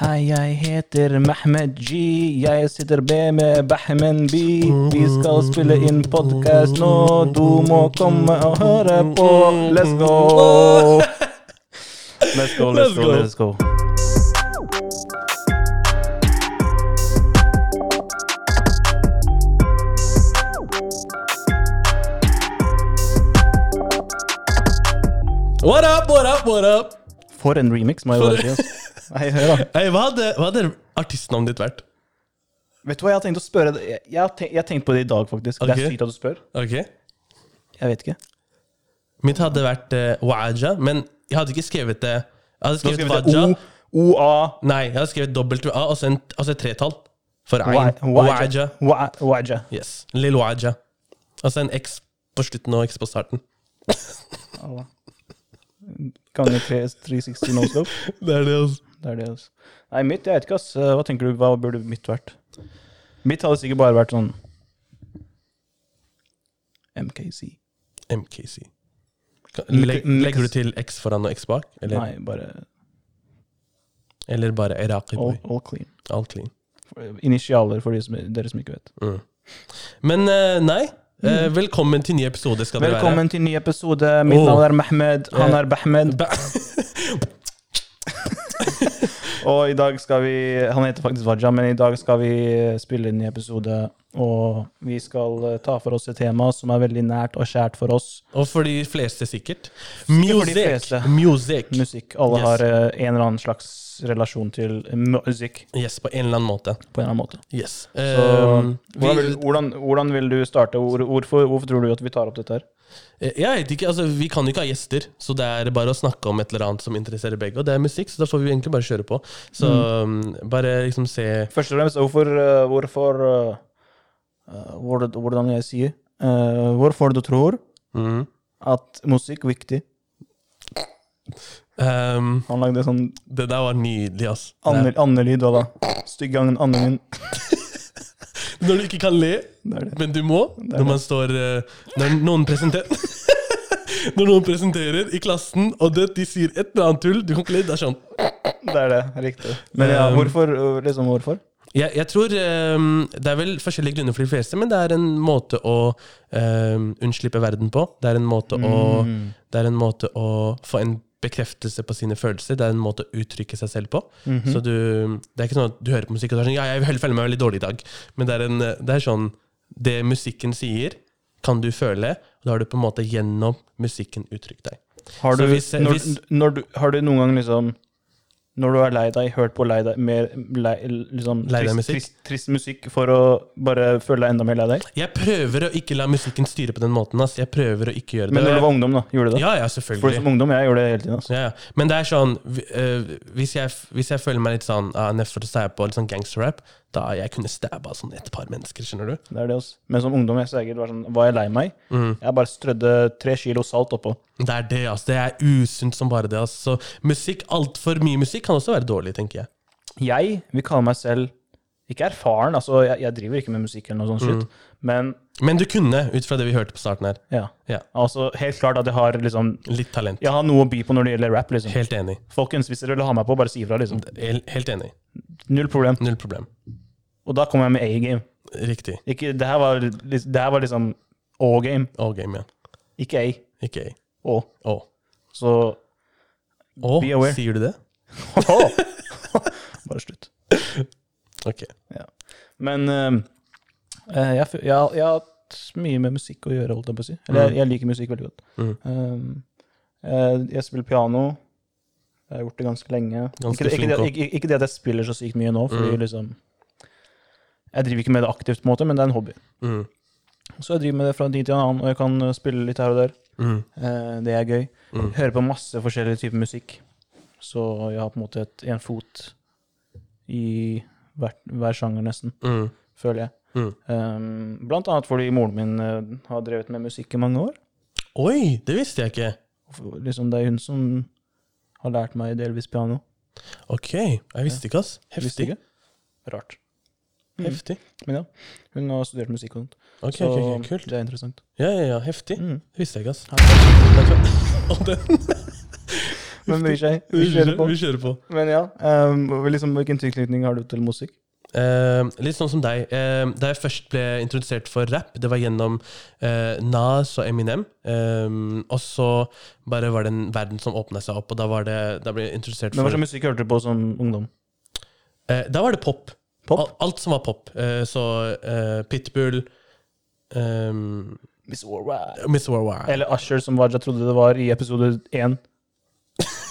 Hei, jeg heter Mehmed G. Jeg sitter B med Behmen B. Vi skal spille inn podkast nå. Du må komme og høre på. Let's go! Let's go, let's go, let's go. What up, what up, what up? For en remix, må jeg bare si. ass. Nei, hør da. Hey, hva, hadde, hva hadde artistnavnet ditt vært? Vet du hva jeg har tenkt å spørre deg? Jeg- Jeg har tenkt, jeg har tenkt på det i dag, faktisk. Det Ok. er sykt at du spør. Ok Jeg vet ikke. Mitt hadde vært eh, Waja, men jeg hadde ikke skrevet det. Jeg hadde Du har skrevet, skrevet Waja. det O-A Nei, jeg hadde skrevet WA, og så en- og så et tretall. For Ain. Waja. Waja. Wa- Waja. Yes. Lil Waja. Altså en X på slutten og X på starten. Allah. Ganger tre- 360 no scope. Det er det, altså. Det er det, altså. Nei, mitt, jeg vet ikke, ass. Hva tenker du, hva burde mitt vært? Mitt hadde sikkert bare vært sånn MKC. MKC. Kan- Legg, Mix- legger du til X foran og X bak? Eller, Nei, bare eller bare Iraqi all, boy? all clean. All clean. Initialer for de som, dere som ikke vet. Men eh, nei. Eh, velkommen til ny episode, skal dere være. Velkommen til ny episode. Mitt Oh. navn er Mehmed. Han Eh. er Behmed. Ba- Og i dag skal vi Han heter faktisk Waja, men i dag skal vi eh, spille inn i episode. Og vi skal eh, ta for oss et tema som er veldig nært og kjært for oss. Og for de fleste, sikkert. for de Music! fleste. Music. Musikk. Alle Yes. har eh, en eller annen slags relasjon til eh, musikk Yes, på en eller annen måte. på en eller annen måte. Yes. Så, um, Ehm, hvordan, vi, vil, hvordan, hvordan vil du starte? Hvor, hvorfor, hvorfor tror du at vi tar opp dette her? Eh, jeg vet ikke, altså, vi kan jo ikke ha gjester, så det er bare å snakke om et eller annet som interesserer begge. Og det er musikk, så da får vi egentlig bare kjøre på. Så mm, bare liksom se Først og fremst, hvorfor, eh, hvorfor eh, eh, hvordan- Hvordan jeg sier eh, Hvorfor du tror mm. at musikk er viktig? Ehm, Han lagde sånn Det der var nydelig, ass. ander- andelyd og da Styggangen andingen. Det er- Når du ikke kan le, Det er det. men du må, når man står eh, Når noen presenterer Når noen presenterer i klassen, og det, de sier et eller annet tull Du kan ikke le, det er sånn Det er det, riktig. Men ja, Um, hvorfor? eh, Liksom hvorfor? Jeg, jeg tror ehm, Det er vel forskjellige grunner for de fleste, men det er en måte å ehm, unnslippe verden på. Det er en måte å Mm. Det er en måte å få en bekreftelse på sine følelser. Det er en måte å uttrykke seg selv på. Mhm. Så du Det er ikke sånn at du hører på musikk og så er det sånn Ja, jeg hører- føler meg veldig dårlig i dag. Men det er, en, det er sånn Det musikken sier, kan du føle. Og da har du på en måte gjennom musikken uttrykt deg. Har Så du, hvis- når, hvis- når du, har du noen gang liksom Når du er lei deg, hørt på lei deg mer lei, liksom, Lei trist, deg musikk? Trist, trist musikk for å bare føle deg enda mer lei deg? Jeg prøver å ikke la musikken styre på den måten. Ass. Jeg prøver å ikke gjøre det. Men Og når du jeg- var ungdom, da? Gjorde du det? ja, ja, For selvfølgelig. som ungdom, jeg gjorde det hele tiden. Altså. Ja, ja. Men det er sånn vi- eh, hvis, jeg, f- hvis jeg føler meg litt sånn uh, nedfor til å stæbe på litt sånn gangsterrap, da jeg kunne stabba sånn et par mennesker, skjønner du? Det er det, altså. Men som ungdom jeg sikkert var sånn, var jeg lei meg. Mm. Jeg bare strødde tre kilo salt oppå. Det er det, altså. Det er usunt som bare det. altså. Så musikk, altfor mye musikk kan også være dårlig, tenker jeg. Jeg vil kalle meg selv ikke erfaren, altså jeg, jeg driver ikke med musikk eller noe sånt Mm. shit, men Men du kunne, ut fra det vi hørte på starten her. ja. Ja, Altså helt klart at jeg har liksom Litt talent. Jeg har noe å by på når det gjelder rap, liksom. Helt enig. Folkens, hvis dere vil ha meg på, bare si ifra, liksom. Hel- Helt enig. Null problem. Null problem. Og da kommer jeg med A-game. Riktig. Ikke, det her var, lis- det her var liksom Å-game, All game, ja. ikke A. Ikke A. Å. Å. Så Å, Be aware. sier du det? Bare slutt. Ok. Men eh, eh, jeg, fø- jeg, har- jeg har hatt mye med musikk å gjøre, holdt jeg på å si. Eller Mm. jeg, jeg liker musikk veldig godt. Eh, eh, jeg spiller piano. Jeg har gjort det ganske lenge. Ganske ikke, det, ikke, flink det, også. Mm. ikke, ikke det at jeg spiller så sykt mye nå, fordi liksom Jeg driver ikke med det aktivt, på en måte, men det er en hobby. Mm. Så jeg driver med det fra tid til annen, og jeg kan eh, spille litt her og der. Mm. Eh, det er gøy. Mm. Hører på masse forskjellige typer musikk. Så jeg har på en måte et, en fot i hver, hver sjanger, nesten, Mm. føler jeg. Mm. Um, blant annet fordi moren min eh, har drevet med musikk i mange år. Oi, det visste jeg ikke. For- Liksom det er hun som har lært meg delvis piano. Ok, jeg visste ikke, ass. Visste Heftig. ikke. Rart. Heftig. Men ja, hun har studert musikk og sånt. Ok, Så ok, ok, kult. det er interessant. Mm, Ja, ja, ja, heftig. Det visste jeg ikke, ass. Ja. Den- Og den Men vi, kjø- vi kjører på. Vi kjører på. Men ja, ehm, og liksom, Hvilken tilknytning har du til musikk? Eh, litt sånn som deg. Eh, da jeg først ble introdusert for rap, det var gjennom eh, Nas og Eminem. Eh, og så bare var det en verden som åpna seg opp, og da, var det, da ble jeg introdusert Men Hva for slags musikk hørte du på som ungdom? Eh, Da var det pop. Pop? Al- Alt som var pop. Eh, så eh, Pitbull eh, Miss Warwick. Miss Warwick. Eller Usher, som Waja trodde det var i episode én.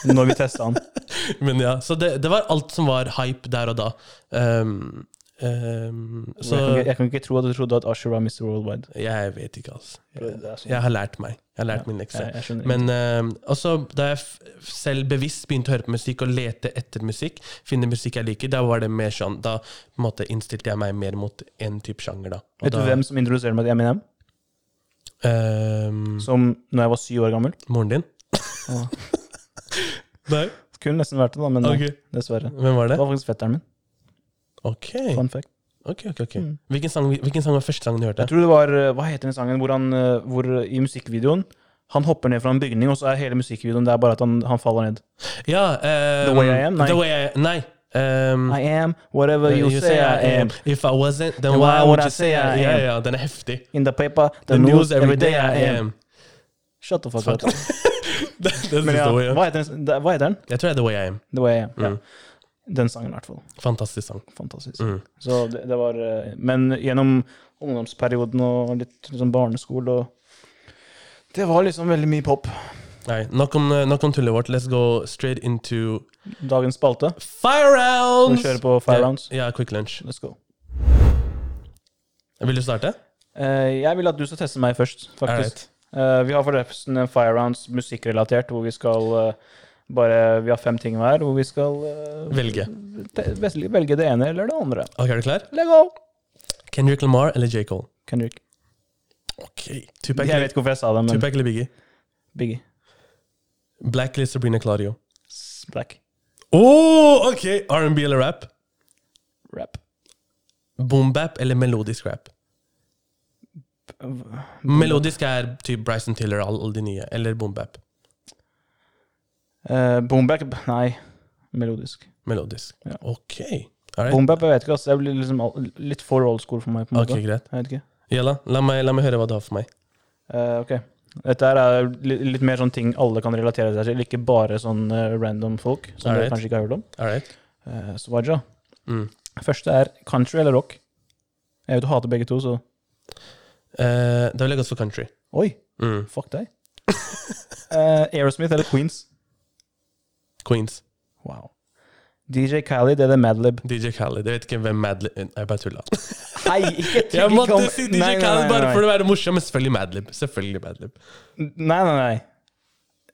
Når vi testa han. Men ja, så det, det var alt som var hype der og da. Ehm, ehm, Så... Jeg, kan så ikke, jeg kan ikke tro at du trodde at Usher var Mr. Worldwide. jeg vet ikke, altså. Det er sånn- Jeg har lært meg. Jeg har lært min lekse. Jeg, jeg skjønner ikke. Men eh, også da jeg f selv bevisst begynte å høre på musikk og lete etter musikk, finne musikk jeg liker, da var det mer sånn Da på en måte, innstilte jeg meg mer mot én type sjanger, da. Og Vet du da, hvem som introduserte meg til Eminem? ehm, Som når jeg var syv år gammel. moren din? Ja. Nei? Kunne nesten vært det, da, men nei, Ok. dessverre. Hvem var Det det? var faktisk fetteren min. Ok, Fun fact. ok, ok. ok. Sånn. Mm. Hvilken, sang, hvilken sang var første sangen du hørte? Jeg tror det var eh, Hva heter den sangen hvor han eh, hvor eh, i musikkvideoen han hopper ned fra en bygning, og så er hele musikkvideoen det er bare at han, han faller ned. Ja, eh, The Way I Am? Nei. The way I, nei. Um, I am whatever you, say I am. If I wasn't, then why would I say I am? Ja, ja, den er heftig. In the paper, the, The news, every day I am. Shut the fuck Fuck. up. det det Men synes ja, The Way I Am. hva heter den? det- Hva heter den? Jeg tror det er The Way I Am. The Way I Am. Ja. Mm. Den sangen, i hvert fall. Fantastisk sang. Fantastisk. Mm. Så det, det var eh, Men gjennom ungdomsperioden og litt liksom barneskole og Det var liksom veldig mye pop. Nei, nok om, eh, nok om tullet vårt. Let's go straight into Dagens spalte. fire Vi rounds! kjører på Fire Rounds. Ja, quick lunch. Let's go. Vil du starte? Eh, jeg vil at du skal teste meg først, faktisk. Alright. Eh, vi har forresten en Fire Rounds musikkrelatert, hvor vi skal eh, bare Vi har fem ting hver, hvor vi skal eh, Velge. te- ves- velge det ene eller det andre. Ok, er du klar? Lego! Kendrick Lamar eller J. Cole? Kendrick. Ok. Tupac, Jeg vet ikke hvorfor jeg sa det, men Tupac eller Biggie? Biggie. Black eller Sabrina Claudio? S- Black. Oh, ok! R&B eller rap? Rap. Boom-bap eller melodisk rap? Melodisk er typ Bryson Tiller og alle alle de nye. Eller boom-bap. Uh, Boomback Nei, melodisk. Eh. Melodisk. Ja. Ok. All right. Boombap, jeg vet ikke. ass. Det blir liksom al- litt for old school for meg. på en måte. Ok, greit. Jeg vet ikke. Jalla, la meg, la meg høre hva du har for meg. Eh, ok. Dette her er li- litt mer sånn ting alle kan relatere seg til, ikke bare sånn eh, random folk. som dere Alright. kanskje ikke har hørt om. All right. Eh, så Waja. Mm. Første er country eller rock. Jeg vet du hater begge to, så Eh, da vil jeg gå for country. Oi, Mm. fuck deg. Eh, Aerosmith eller Queens? Queens. Wow. DJ Khalid eller Madlib? DJ Khaled. Jeg vet ikke hvem Madlib Jeg bare tulla. Nei, ikke trykk Jeg ikke måtte om- si Nei, DJ nei, Khaled nei, bare nei. for å være morsom, men selvfølgelig Madlib. Selvfølgelig Madlib. Nei, nei, nei.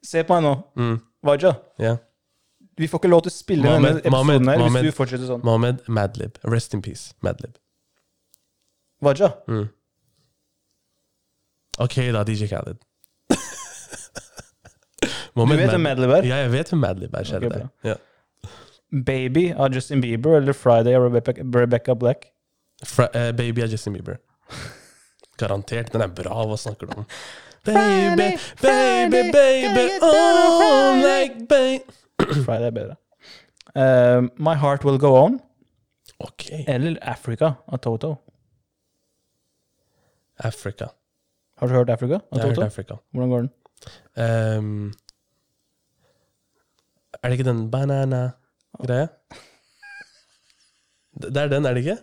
Se på meg nå, Mm. Waja. Ja. Vi får ikke lov til å spille denne Mohammed, episoden her Mohammed, hvis du fortsetter sånn. Mohammed Madlib. Rest in peace, Madlib. Waja, Mm. Ok, da, DJ Khaled. du vet hvem Madlib er? Ja, jeg vet hvem Madlib er. Kjære Ok, deg. Ja. Baby av Justin Bieber eller Friday av Rebecca, Rebecca Black? Fra, eh, baby av Justin Bieber. Garantert. Den er bra. Hva snakker du om? Baby, baby, baby, oh, like baby Friday er bedre. Eh, My Heart Will Go On Ok, eller Africa av Toto? Africa. Har du hørt Africa av Jeg har Toto? hørt Africa. Hvordan går den? Ehm, er det ikke den banana-greia? D- Det er den, er det ikke?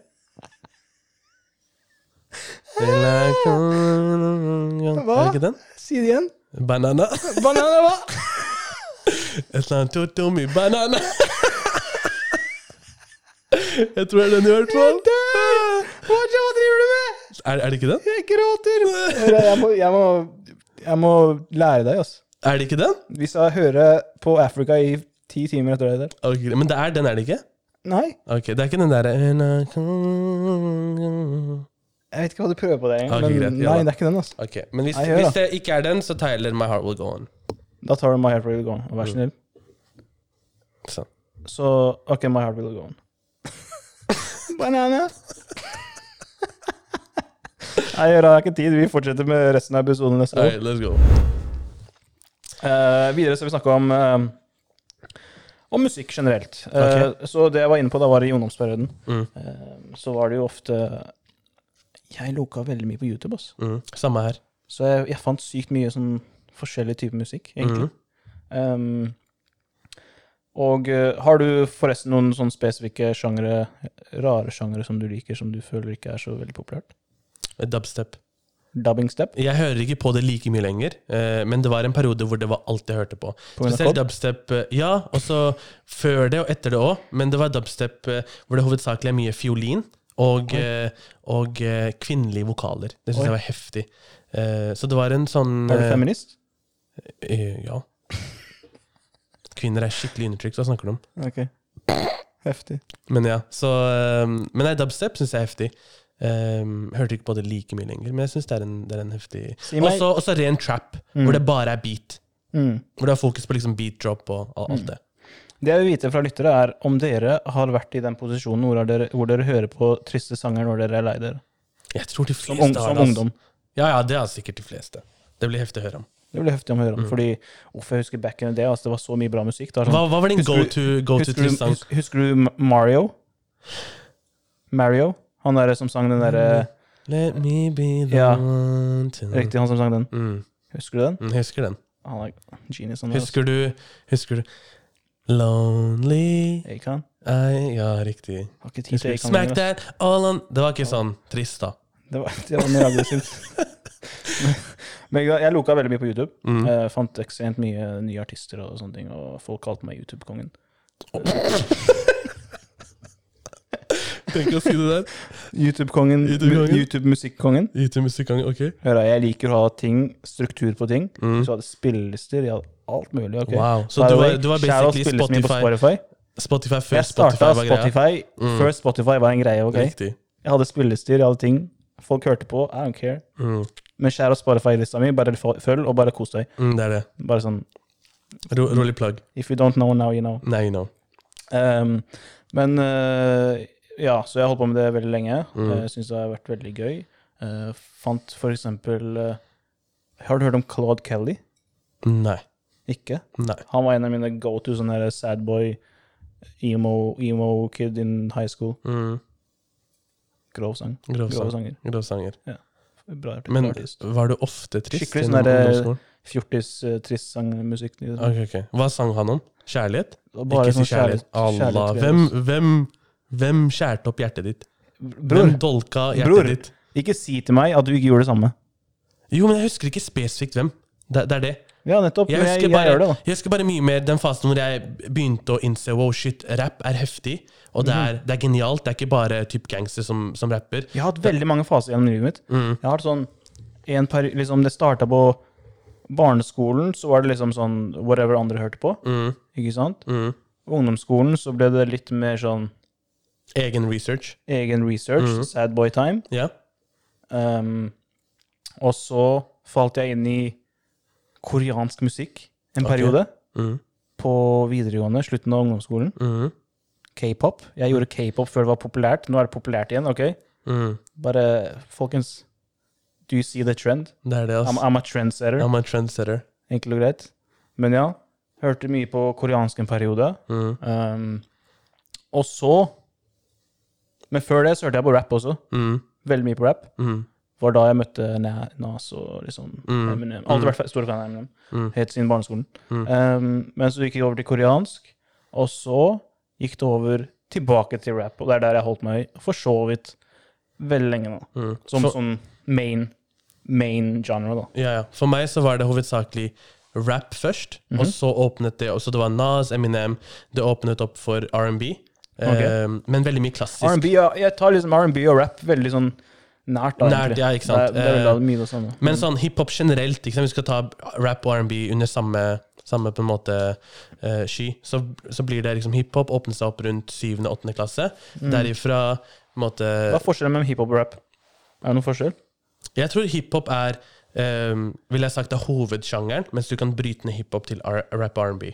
Hva? Er det ikke den? Si det igjen. Banana. Banana, hva? Et eller annet toto mi banana. Jeg tror det er den i hvert fall. Hva driver du med? Er, er det ikke den? Jeg gråter. Jeg må, jeg må, jeg må lære deg, altså. Er det ikke den? Vi skal høre på Africa i ti timer etter det der. Ok, men det er den, er det ikke? Nei, Ok, Det er ikke den eh, derre jeg vet ikke hva du prøver på det engang. Ok, men greit, nei, ja da. det er ikke den, altså. Ok, Men hvis, Nei, hør da. hvis det ikke er den, så Tyler My Heart Will Go On. Da tar du My Heart Will Go On, Mm. vær så snill. Sånn. Så OK, My Heart Will Go On. Banana. Nei, jeg har ikke tid. Vi fortsetter med resten av episoden neste år. All right, let's go. Eh, videre skal vi snakke om eh, og musikk generelt. Eh, Så det jeg var inne på da var i ungdomsperioden, Mm. eh, så var det jo ofte Jeg loka veldig mye på YouTube, ass. Mm. Samme her. Så jeg, jeg fant sykt mye sånn forskjellig type musikk, Mm, egentlig. Ehm, og eh, har du forresten noen sånn spesifikke sjangre, rare sjangre som du liker, som du føler ikke er så veldig populært? Dubstep. Dubbingstep? Jeg hører ikke på det like mye lenger, eh, men det var en periode hvor det var alt jeg hørte på. På grunn av Spesielt Cobb? dubstep. eh, Ja, og så før det og etter det òg, men det var dubstep eh, hvor det hovedsakelig er mye fiolin og, eh, og eh, kvinnelige vokaler. Det syns Oi. jeg var heftig. Eh, Så det var en sånn Er du eh, feminist? eh, Ja. Kvinner er skikkelig undertrykt, hva snakker du om? Ok. Heftig. Men ja, så eh, Men nei, dubstep syns jeg er heftig. Eh, hørte ikke på det like mye lenger, men jeg syns det, er en- det er en heftig Si meg- Også også ren trap, hvor det bare er beat. Mm. Hvor det er fokus på liksom beat drop og al- alt det. Det jeg vil vite fra lyttere, er om dere har vært i den posisjonen hvor dere, hvor dere hører på triste sanger når dere er lei dere. Jeg tror de Som, fleste ung, har som det. altså. ungdom. Ja, ja, det er sikkert de fleste. Det blir heftig å høre om. Det blir heftig å Mm. høre om. Fordi, uff, jeg husker back in the day, altså, det var så mye bra musikk. Det var sånn, Hva, hva var din Husker du- go-to go Husker du, sang? hus- husker du Ma- Mario? Mario? Han derre som sang den derre Let me be the Ja. one to Riktig, han som sang den. Mm, Husker du den? mm, husker den. Han er genius, han der. Husker du Husker du Lonely altså. Akon. I Ja, riktig. Har ikke tid til Husker du Akon Smack lenger, ass. that all on Det var ikke sånn trist, da. Det var, det var mye aggressivt. Men jeg jeg loka veldig mye på YouTube. Mm. Eh, fant ekstremt mye nye artister og sånne ting, og folk kalte meg YouTube-kongen. Tenk å si det der. YouTube-kongen, YouTube-kongen? mu- YouTube-musikk-kongen. IT-musikkgang, ok? Hør da, jeg liker å ha ting, struktur på ting. Så jeg hadde spillelister, jeg hadde alt mulig. ok. Mm. Wow, så By du the var- way, du var shout out basically spillelisten min på Spotify. Spotify. Spotify før Jeg starta Spotify var greia. Mm. Spotify før Spotify var en greie. ok? Riktig. Jeg hadde spillelister, jeg hadde ting. Folk hørte på. I don't care. Mm. Men skjær av Spotify-lista mi, bare fol- følg og bare kos deg. Mm, det er det. Bare sånn Ro, rolig plagg. If you don't know, now you know. Now you know. Um, men øh, ja, så jeg har holdt på med det veldig lenge. Mm. Eh, Jeg Syns det har vært veldig gøy. Eh, fant for eksempel eh, Har du hørt om Claude Kelly? Nei. Ikke? Nei. Han var en av mine go to sånne her sad boy, emo, emo kid in high school. Mm. Grov sang. Grov Grove sang. sanger. Grov sanger. Bra artist. Men bra artist. var du ofte trist? Skikkelig gjennom sånn der- ungdomsskolen? fjortis, eh, trist sangmusikk. Ok, ok. Hva sang han om? Kjærlighet? Og bare Ikke si sånn kjærlighet. kjærlighet- kjærlighet Allah. til Hvem, hvem, hvem skjærte opp hjertet ditt? Bror, Hvem dolka hjertet Bror. ditt? ikke si til meg at du ikke gjorde det samme. Jo, men jeg husker ikke spesifikt hvem. Det, det er det. Ja, nettopp. Jeg men jeg, husker, jeg, bare, gjør det, da. jeg husker bare mye mer den fasen hvor jeg begynte å innse wow, shit, rap er heftig. Og det Mhm. er, det er genialt. Det er ikke bare typ gangster som, som rapper. Jeg har hatt veldig mange faser gjennom livet mitt. Mm. Jeg har hatt sånn en peri liksom Det starta på barneskolen, så var det liksom sånn whatever andre hørte på. Ikke sant? Mm. Ungdomsskolen så ble det litt mer sånn Egen research. egen research, Mm. sad boy time. Ja. Um, og så falt jeg inn i koreansk musikk en Ok. periode. Mm. På videregående, slutten av ungdomsskolen. Mm. K-pop. Jeg gjorde k-pop før det var populært. Nå er det populært igjen, OK? Mm. Bare, folkens Do you see the trend? Det er det, I'm, altså. I'm a trendsetter, I'm a trendsetter. enkelt og greit. Men ja, hørte mye på koreansk en periode. Mm. Um, og så Men før det så hørte jeg på rap også. Mm. Veldig mye på rap. Mm. Var da jeg møtte Na- Nas og liksom Eminem. Alltid Mm. vært stor fan av Eminem. Helt siden barneskolen. Um, men så gikk jeg over til koreansk, og så gikk det over tilbake til rap. Og det er der jeg holdt meg for så vidt veldig lenge nå. Mm. Som For- sånn main, main genre, da. Ja, ja. For meg så var det hovedsakelig rap først, og så åpnet det Så det var Nas, Eminem, det åpnet opp for R&B. Eh, men veldig mye klassisk. R&B, ja, jeg tar liksom R&B og rap veldig sånn nært. da, Nært, egentlig. ja, ikke sant. Eh, Det, er- det er veldig mye det samme. Men sånn hiphop generelt, ikke sant? vi skal ta rap og R&B under samme, samme på en måte eh, sky, så, så blir det liksom hiphop åpne seg opp rundt 7.-8. klasse. Derifra på en måte Hva er forskjellen mellom hiphop og rap? Er det noen forskjell? Jeg tror hiphop er ehm, Vil jeg sagt er hovedsjangeren, mens du kan bryte ned hiphop til R rap og R&B.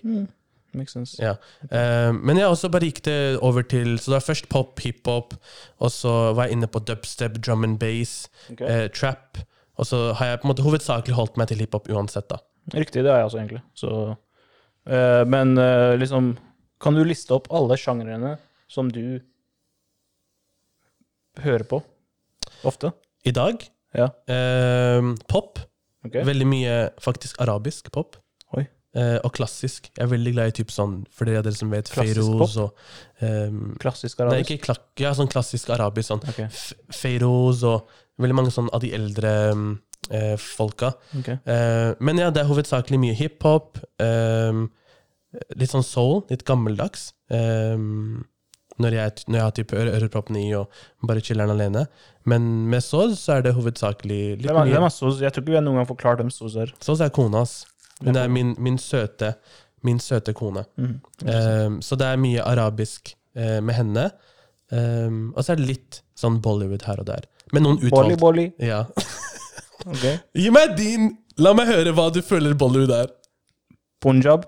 Makes sense. Ja. Ehm, men jeg også bare gikk det over til Så det var først pop, hiphop, og så var jeg inne på dubstep, drum and bass, Ok. eh, trap. Og så har jeg på en måte hovedsakelig holdt meg til hiphop uansett, da. Riktig, det er jeg også, egentlig. Så, eh, men eh, liksom Kan du liste opp alle sjangrene som du hører på ofte? I dag Ja. ehm, pop. Ok. Veldig mye faktisk arabisk pop. Oi. Eh, og klassisk. Jeg er veldig glad i typ sånn, for dere av dere som vet, Klassisk Feiroz og ehm, Klassisk Nei, arabisk? ikke klak, ja, sånn klassisk arabisk. sånn Ok. F- Feiroz og veldig mange sånn av de eldre mm, eh, folka. Ok. Eh, men ja, det er hovedsakelig mye hiphop. ehm, litt sånn soul, litt gammeldags. ehm, når jeg, når jeg har typ øre- øreproppene i og bare chiller'n alene. Men med Soz så er det hovedsakelig litt Hvem er, hvem mye er Soz? Jeg tror ikke vi har noen gang forklart hvem Soz er. Soz er kona hans. Hun er min, min søte Min søte kone. Mhm. Ehm, så det er mye arabisk eh, med henne. Ehm, og så er det litt sånn Bollywood her og der. Med noen Bolly, utvalgte. bolly. Ja. Ok. Gi meg din! La meg høre hva du føler Bollywood er. Punjab.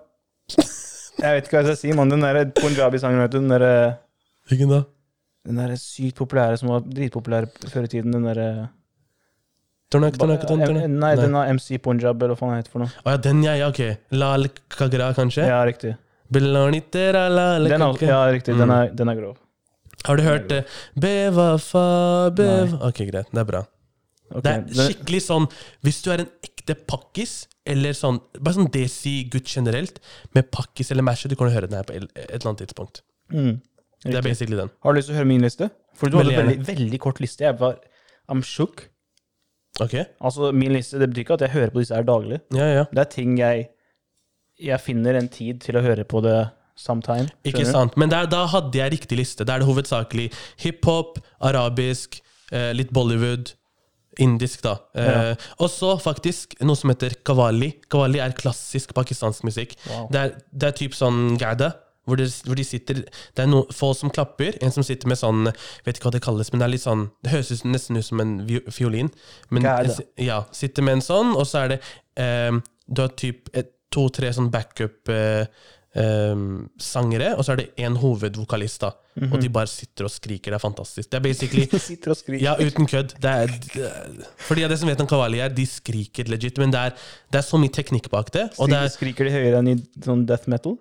Jeg vet ikke hva jeg skal si, mann. Den der punjabi-sangen, vet du. Den derre Hvilken da? den der sykt populære som var dritpopulær før i tiden. Den derre Tornak, tornak, tornak, tornak. Nei, den har MC Punjab, eller hva faen den heter for noe. Å ja, den, ja, ja, ok. Lal Kagra, kanskje? Ja, riktig. Bilani tera lal Den er, kagra. ja, riktig. Den Mm. er, den er grov. Har du hørt det? Bevafa, bev... Ok, greit. Det er bra. Ok, Det er den- skikkelig sånn Hvis du er en ekte pakkis, eller sånn Bare sånn desi-gutt generelt, med pakkis eller masher, du kommer til å høre den her på el- et eller annet tidspunkt. mm. Det er Riktig. basically den. Har du lyst til å høre min liste? For du hadde Veldig en veldig, veldig kort liste. Jeg var I'm shook. Ok? Altså, min liste, det betyr ikke at jeg hører på disse her daglig. Ja, ja. Det er ting jeg Jeg finner en tid til å høre på det sometime. Ikke skjønner du? sant? Men der, da hadde jeg riktig liste. Da er det hovedsakelig hiphop, arabisk, eh, litt Bollywood, indisk, da. Eh, Og så faktisk noe som heter kawali. Kawali er klassisk pakistansk musikk. Wow. Det, er, det er typ sånn gada. Hvor de, hvor de sitter Det er no, få som klapper, en som sitter med sånn Vet ikke hva det kalles, men det er litt sånn Det høres ut- nesten ut som en vi, fiolin. Men, Gada. ja, sitter med en sånn, og så er det ehm, Du har typ et- to-tre sånn backup-sangere, og så er det én hovedvokalist, da. Og de bare sitter og skriker. Det er fantastisk. Det er basically De sitter og skriker. Ja, uten kødd. Det er, det er- fordi det som vet om Kawali er, de skriker legit, men det er, det er så mye teknikk bak det. Og det er, Skriker de høyere enn i sånn death metal?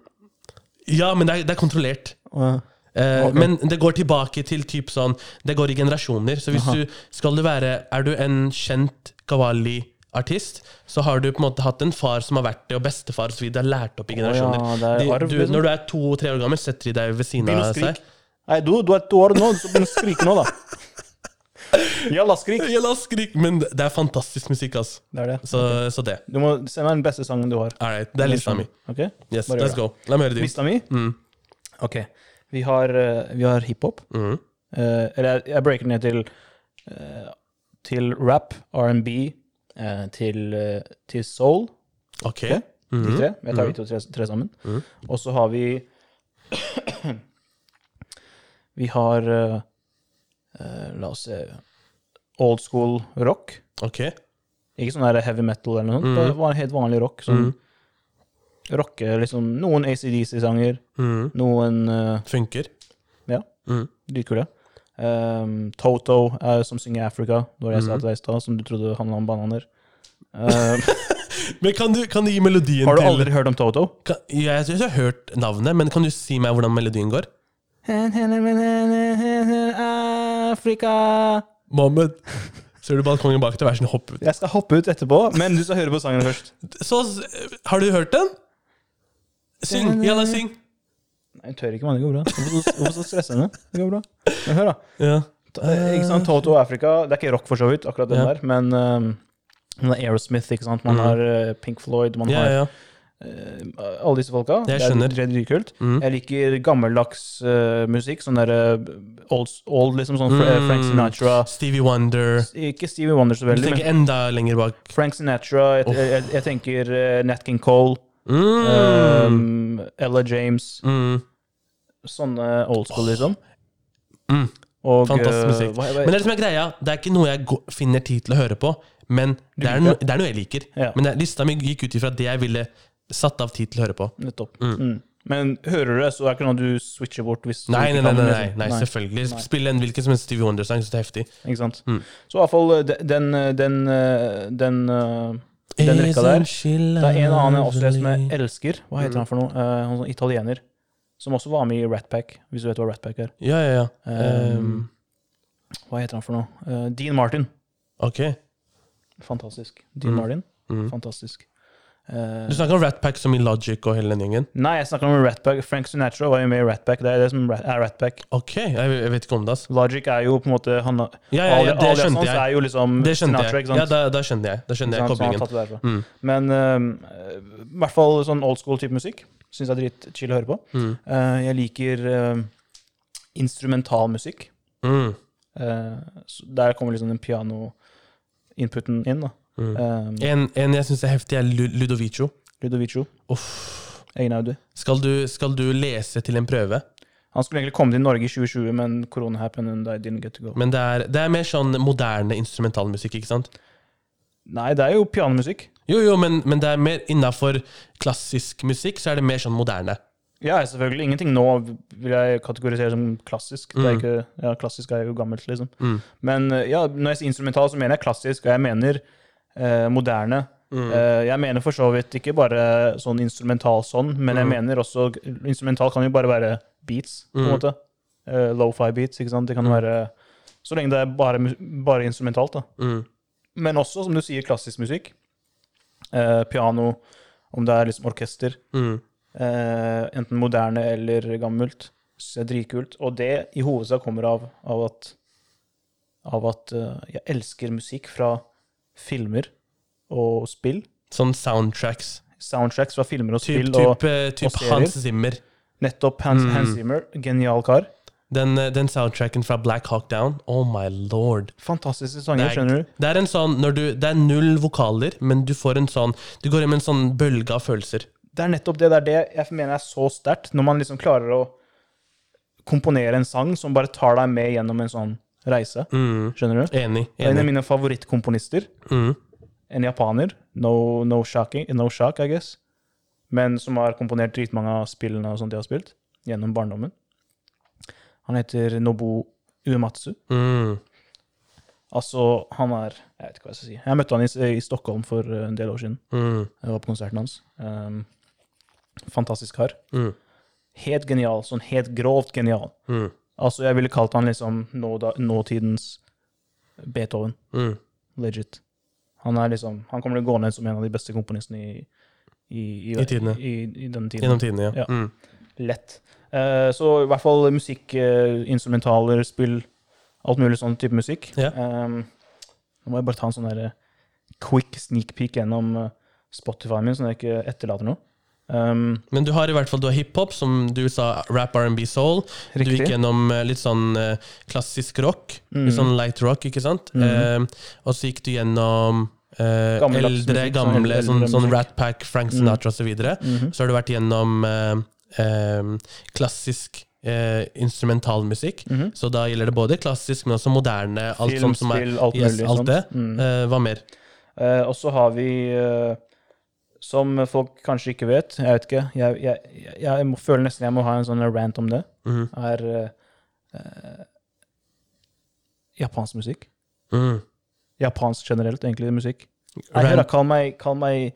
ja, men det er, det er kontrollert. Og- Eh, Ok. Men det går tilbake til typ sånn Det går i generasjoner. Så hvis du skal du være Er du en kjent Kawali-artist, så har du på en måte hatt en far som har vært det, og bestefar så videre, har lært opp i generasjoner. ja, det er De- arv, du, liksom. når du er to-tre år gammel, setter de deg ved siden Begynn å av seg. skrike. Nei, du, du er to år nå, så begynn å skrike nå, da. Jalla, skrik. Ja, la oss skrike! Men det er fantastisk musikk, altså. Det er det. Så, så det. Du må send meg den beste sangen du har. All right, det er lista mi. Ok? Yes, Bare gjør let's go. La meg høre din. Lista mi? Mm. Ok. Vi har, eh, vi har hiphop. Mm. Eh, eller jeg, jeg breaker ned til eh, til rap, R&B, eh, til, eh, til soul. Ok. Ok? De tre. Jeg tar de to tre, tre sammen. Og så har vi Vi har eh, eh, La oss se Old school rock. Ok. Ikke sånn der heavy metal eller noe sånt. Bare van- helt vanlig rock. Sånn rocke liksom Noen ACDC-sanger, Mm. noen eh, Funker. Ja. Mm. Dritkule. Um, Toto, eh, som synger Africa, det var det jeg sa til deg i stad, som du trodde handla om bananer. Um, Men kan du, kan du gi melodien har du til aldri hørt om Toto? Kan, ja, jeg synes jeg har hørt navnet, men kan du si meg hvordan melodien går? Afrika Mohammed. Ser du balkongen bak deg? Vær så snill, hopp ut. Jeg skal hoppe ut etterpå, men du skal høre på sangen først. Så, s- har du hørt den? Syng! Jalla, syng! Nei, Jeg tør ikke, mann. Det går bra. Hvorfor så- Hvorfor så stresse henne? Det går bra. Men hør, da. Ja. Ta- eh, Ikke sant, Toto og Africa Det er ikke rock, for så vidt, akkurat den Ja. der, men um, man har Aerosmith, ikke sant? man Mhm. har eh, Pink Floyd, man ja, har ja. eh, alle disse folka. Jeg skjønner. Det er dritkult. Mm. Jeg liker gammeldags eh, musikk, sånn derre old, old, liksom sånn Fra- Mm. Frank Sinatra Stevie Wonder. Ikke Stevie Wonder så Du veldig, tenker men enda lenger bak. Frank Sinatra. Jeg, jeg, jeg, jeg tenker eh, Nat King Cole, Mm. um, Ella James Mm. Sånne old school, liksom. Mm. Og, Fantastisk eh, musikk. hva- hva- Men det er det som er greia, det er ikke noe jeg gå- finner tid til å høre på, men det er, no, det er noe jeg liker. Ja. Men det, lista mi gikk ut ifra det jeg ville satt av tid til å høre på. Nettopp. Mm. Men hører du det, så er det ikke noe du switcher bort hvis du Nei, ikke nei, nei, kan, nei, nei, liksom. nei selvfølgelig. Spill en hvilken som helst Stevie Wonder-sang, så det er heftig. Ikke sant? Mm. Så i hvert fall eh, de- den eh, den, eh, den, eh, den rekka der Det er en annen jeg også jeg som jeg elsker. Hva heter han for noe? Eh, han sånn italiener. som også var med i Rat Pack, hvis du vet hva Rat Pack er. Ja, ja, ja. Eh, Ehm, Hva heter han for noe? Eh, Dean Martin. ok. Fantastisk. Dean Mm. Martin, Mm. fantastisk. Eh, Du snakker om Rat Pack som i Logic og hele den gjengen. nei, jeg snakker om Rat Pack. Frank Sinatra var jo med i Rat Pack. Det er det som er Rat Pack. Ok, jeg, jeg vet ikke om det, ass. Logic er jo på en måte han, Ja, ja, ja, det skjønte Aliasons jeg. er jo liksom Det skjønte Sinatra, jeg. ikke sant? Ja, da, da skjønner jeg. Da skjønner jeg Ikke sant? Så han har koblingen. tatt det derfra. Mm. Men eh, i hvert fall sånn old school type musikk syns jeg er dritchill å høre på. Mm. Eh, jeg liker eh, instrumentalmusikk. Mm. Eh, så der kommer liksom den piano-inputen inn. da. Mm. Eh, En, en jeg syns er heftig, er Lu- Ludovico. Ludovico Uff. Egenaudi. Skal du, skal du lese til en prøve? Han skulle egentlig komme til Norge i 2020, men corona happened and I didn't get to go. Men det er, det er mer sånn moderne instrumentalmusikk, ikke sant? Nei, det er jo pianomusikk. Jo, jo, men, men det er mer innafor klassisk musikk, så er det mer sånn moderne. Ja, selvfølgelig. Ingenting nå vil jeg kategorisere som klassisk. Det er ikke, ja, klassisk er jo gammelt, liksom. Mm. Men eh, ja, når jeg sier instrumental, så mener jeg klassisk, og jeg mener eh, moderne. Mm. Eh, jeg mener for så vidt ikke bare sånn instrumental sånn, men jeg mener også Instrumental kan jo bare være beats, på en Mm. måte. Eh, Lo-fi beats, ikke sant. Det kan være Så lenge det er bare, mus- bare instrumentalt, da. Mm. Men også, som du sier, klassisk musikk. Eh, piano, om det er liksom orkester. Mm. Eh, enten moderne eller gammelt. Synes jeg er dritkult. Og det i hovedsak kommer av, av at, av at eh, jeg elsker musikk fra filmer og spill. Sånn soundtracks. Soundtracks fra filmer og Typ, spill. typ, eh, typ serier. Hans Zimmer. Og nettopp Hans, Mm. Hans Zimmer. Genial kar. Den, eh, den soundtracken fra Black Hawk Down. Oh my lord. Fantastiske Det sanger, er- skjønner du. Det er en sånn, når du, det er null vokaler, men du får en sånn Du går inn med en sånn bølge av følelser. Det er nettopp det. Det er det jeg mener er så sterkt, når man liksom klarer å komponere en sang som bare tar deg med gjennom en sånn reise. Mm. Skjønner du? Enig. Det er en av enig. mine favorittkomponister. Mm. en japaner. No, no, shocking, no shock, I guess. Men som har komponert dritmange av spillene og sånt de har spilt gjennom barndommen. Han heter Nobu Uematsu. Mm. Altså, han er Jeg vet ikke hva jeg skal si. Jeg møtte han i, i Stockholm for eh, en del år siden. Mm. Jeg var på konserten hans. Um, fantastisk kar. Mm. Helt genial. Sånn helt grovt genial. Mm. Altså, jeg ville kalt han liksom nåda, nåtidens Beethoven. Mm. Legit. Han er liksom Han kommer til å gå ned som en av de beste komponistene i I, i, I tidene. I, i denne tiden. Gjennom tidene, Ja. ja. Mm. Lett. Eh, så i hvert fall musikk, eh, instrumentaler, spill, alt mulig sånn type musikk. Ja. Ehm, nå må jeg bare ta en sånn der eh, quick sneak peek gjennom eh, Spotify min, sånn at jeg ikke etterlater noe. Ehm, Men du har i hvert fall du har hiphop, som du sa, rap, R&B, soul. Du riktig. gikk gjennom eh, litt sånn eh, klassisk rock, Mm. litt sånn light rock, ikke sant? Mhm. Eh, og så gikk du gjennom eh, Gammeldags eldre, musikk, sånn gamle, eldre sånn, sånn musikk. Mm. Rat Pack, Frank Sinatra osv. Så, videre. Mhm. så har du vært gjennom eh, eh, klassisk eh, instrumentalmusikk. Mhm. Så da gjelder det både klassisk, men også moderne. Alt Film, sånt som er spill, alt Yes, mulig. alt sånt. det. Mm. Eh, Hva mer? Eh, og så har vi, eh, som folk kanskje ikke vet, jeg vet ikke, jeg, jeg, jeg, jeg må, føler nesten jeg må ha en sånn rant om det, Mhm. er eh, eh, japansk musikk. Mm. Japansk generelt, egentlig, musikk. Nei, hør da, Rant. kall meg, kall meg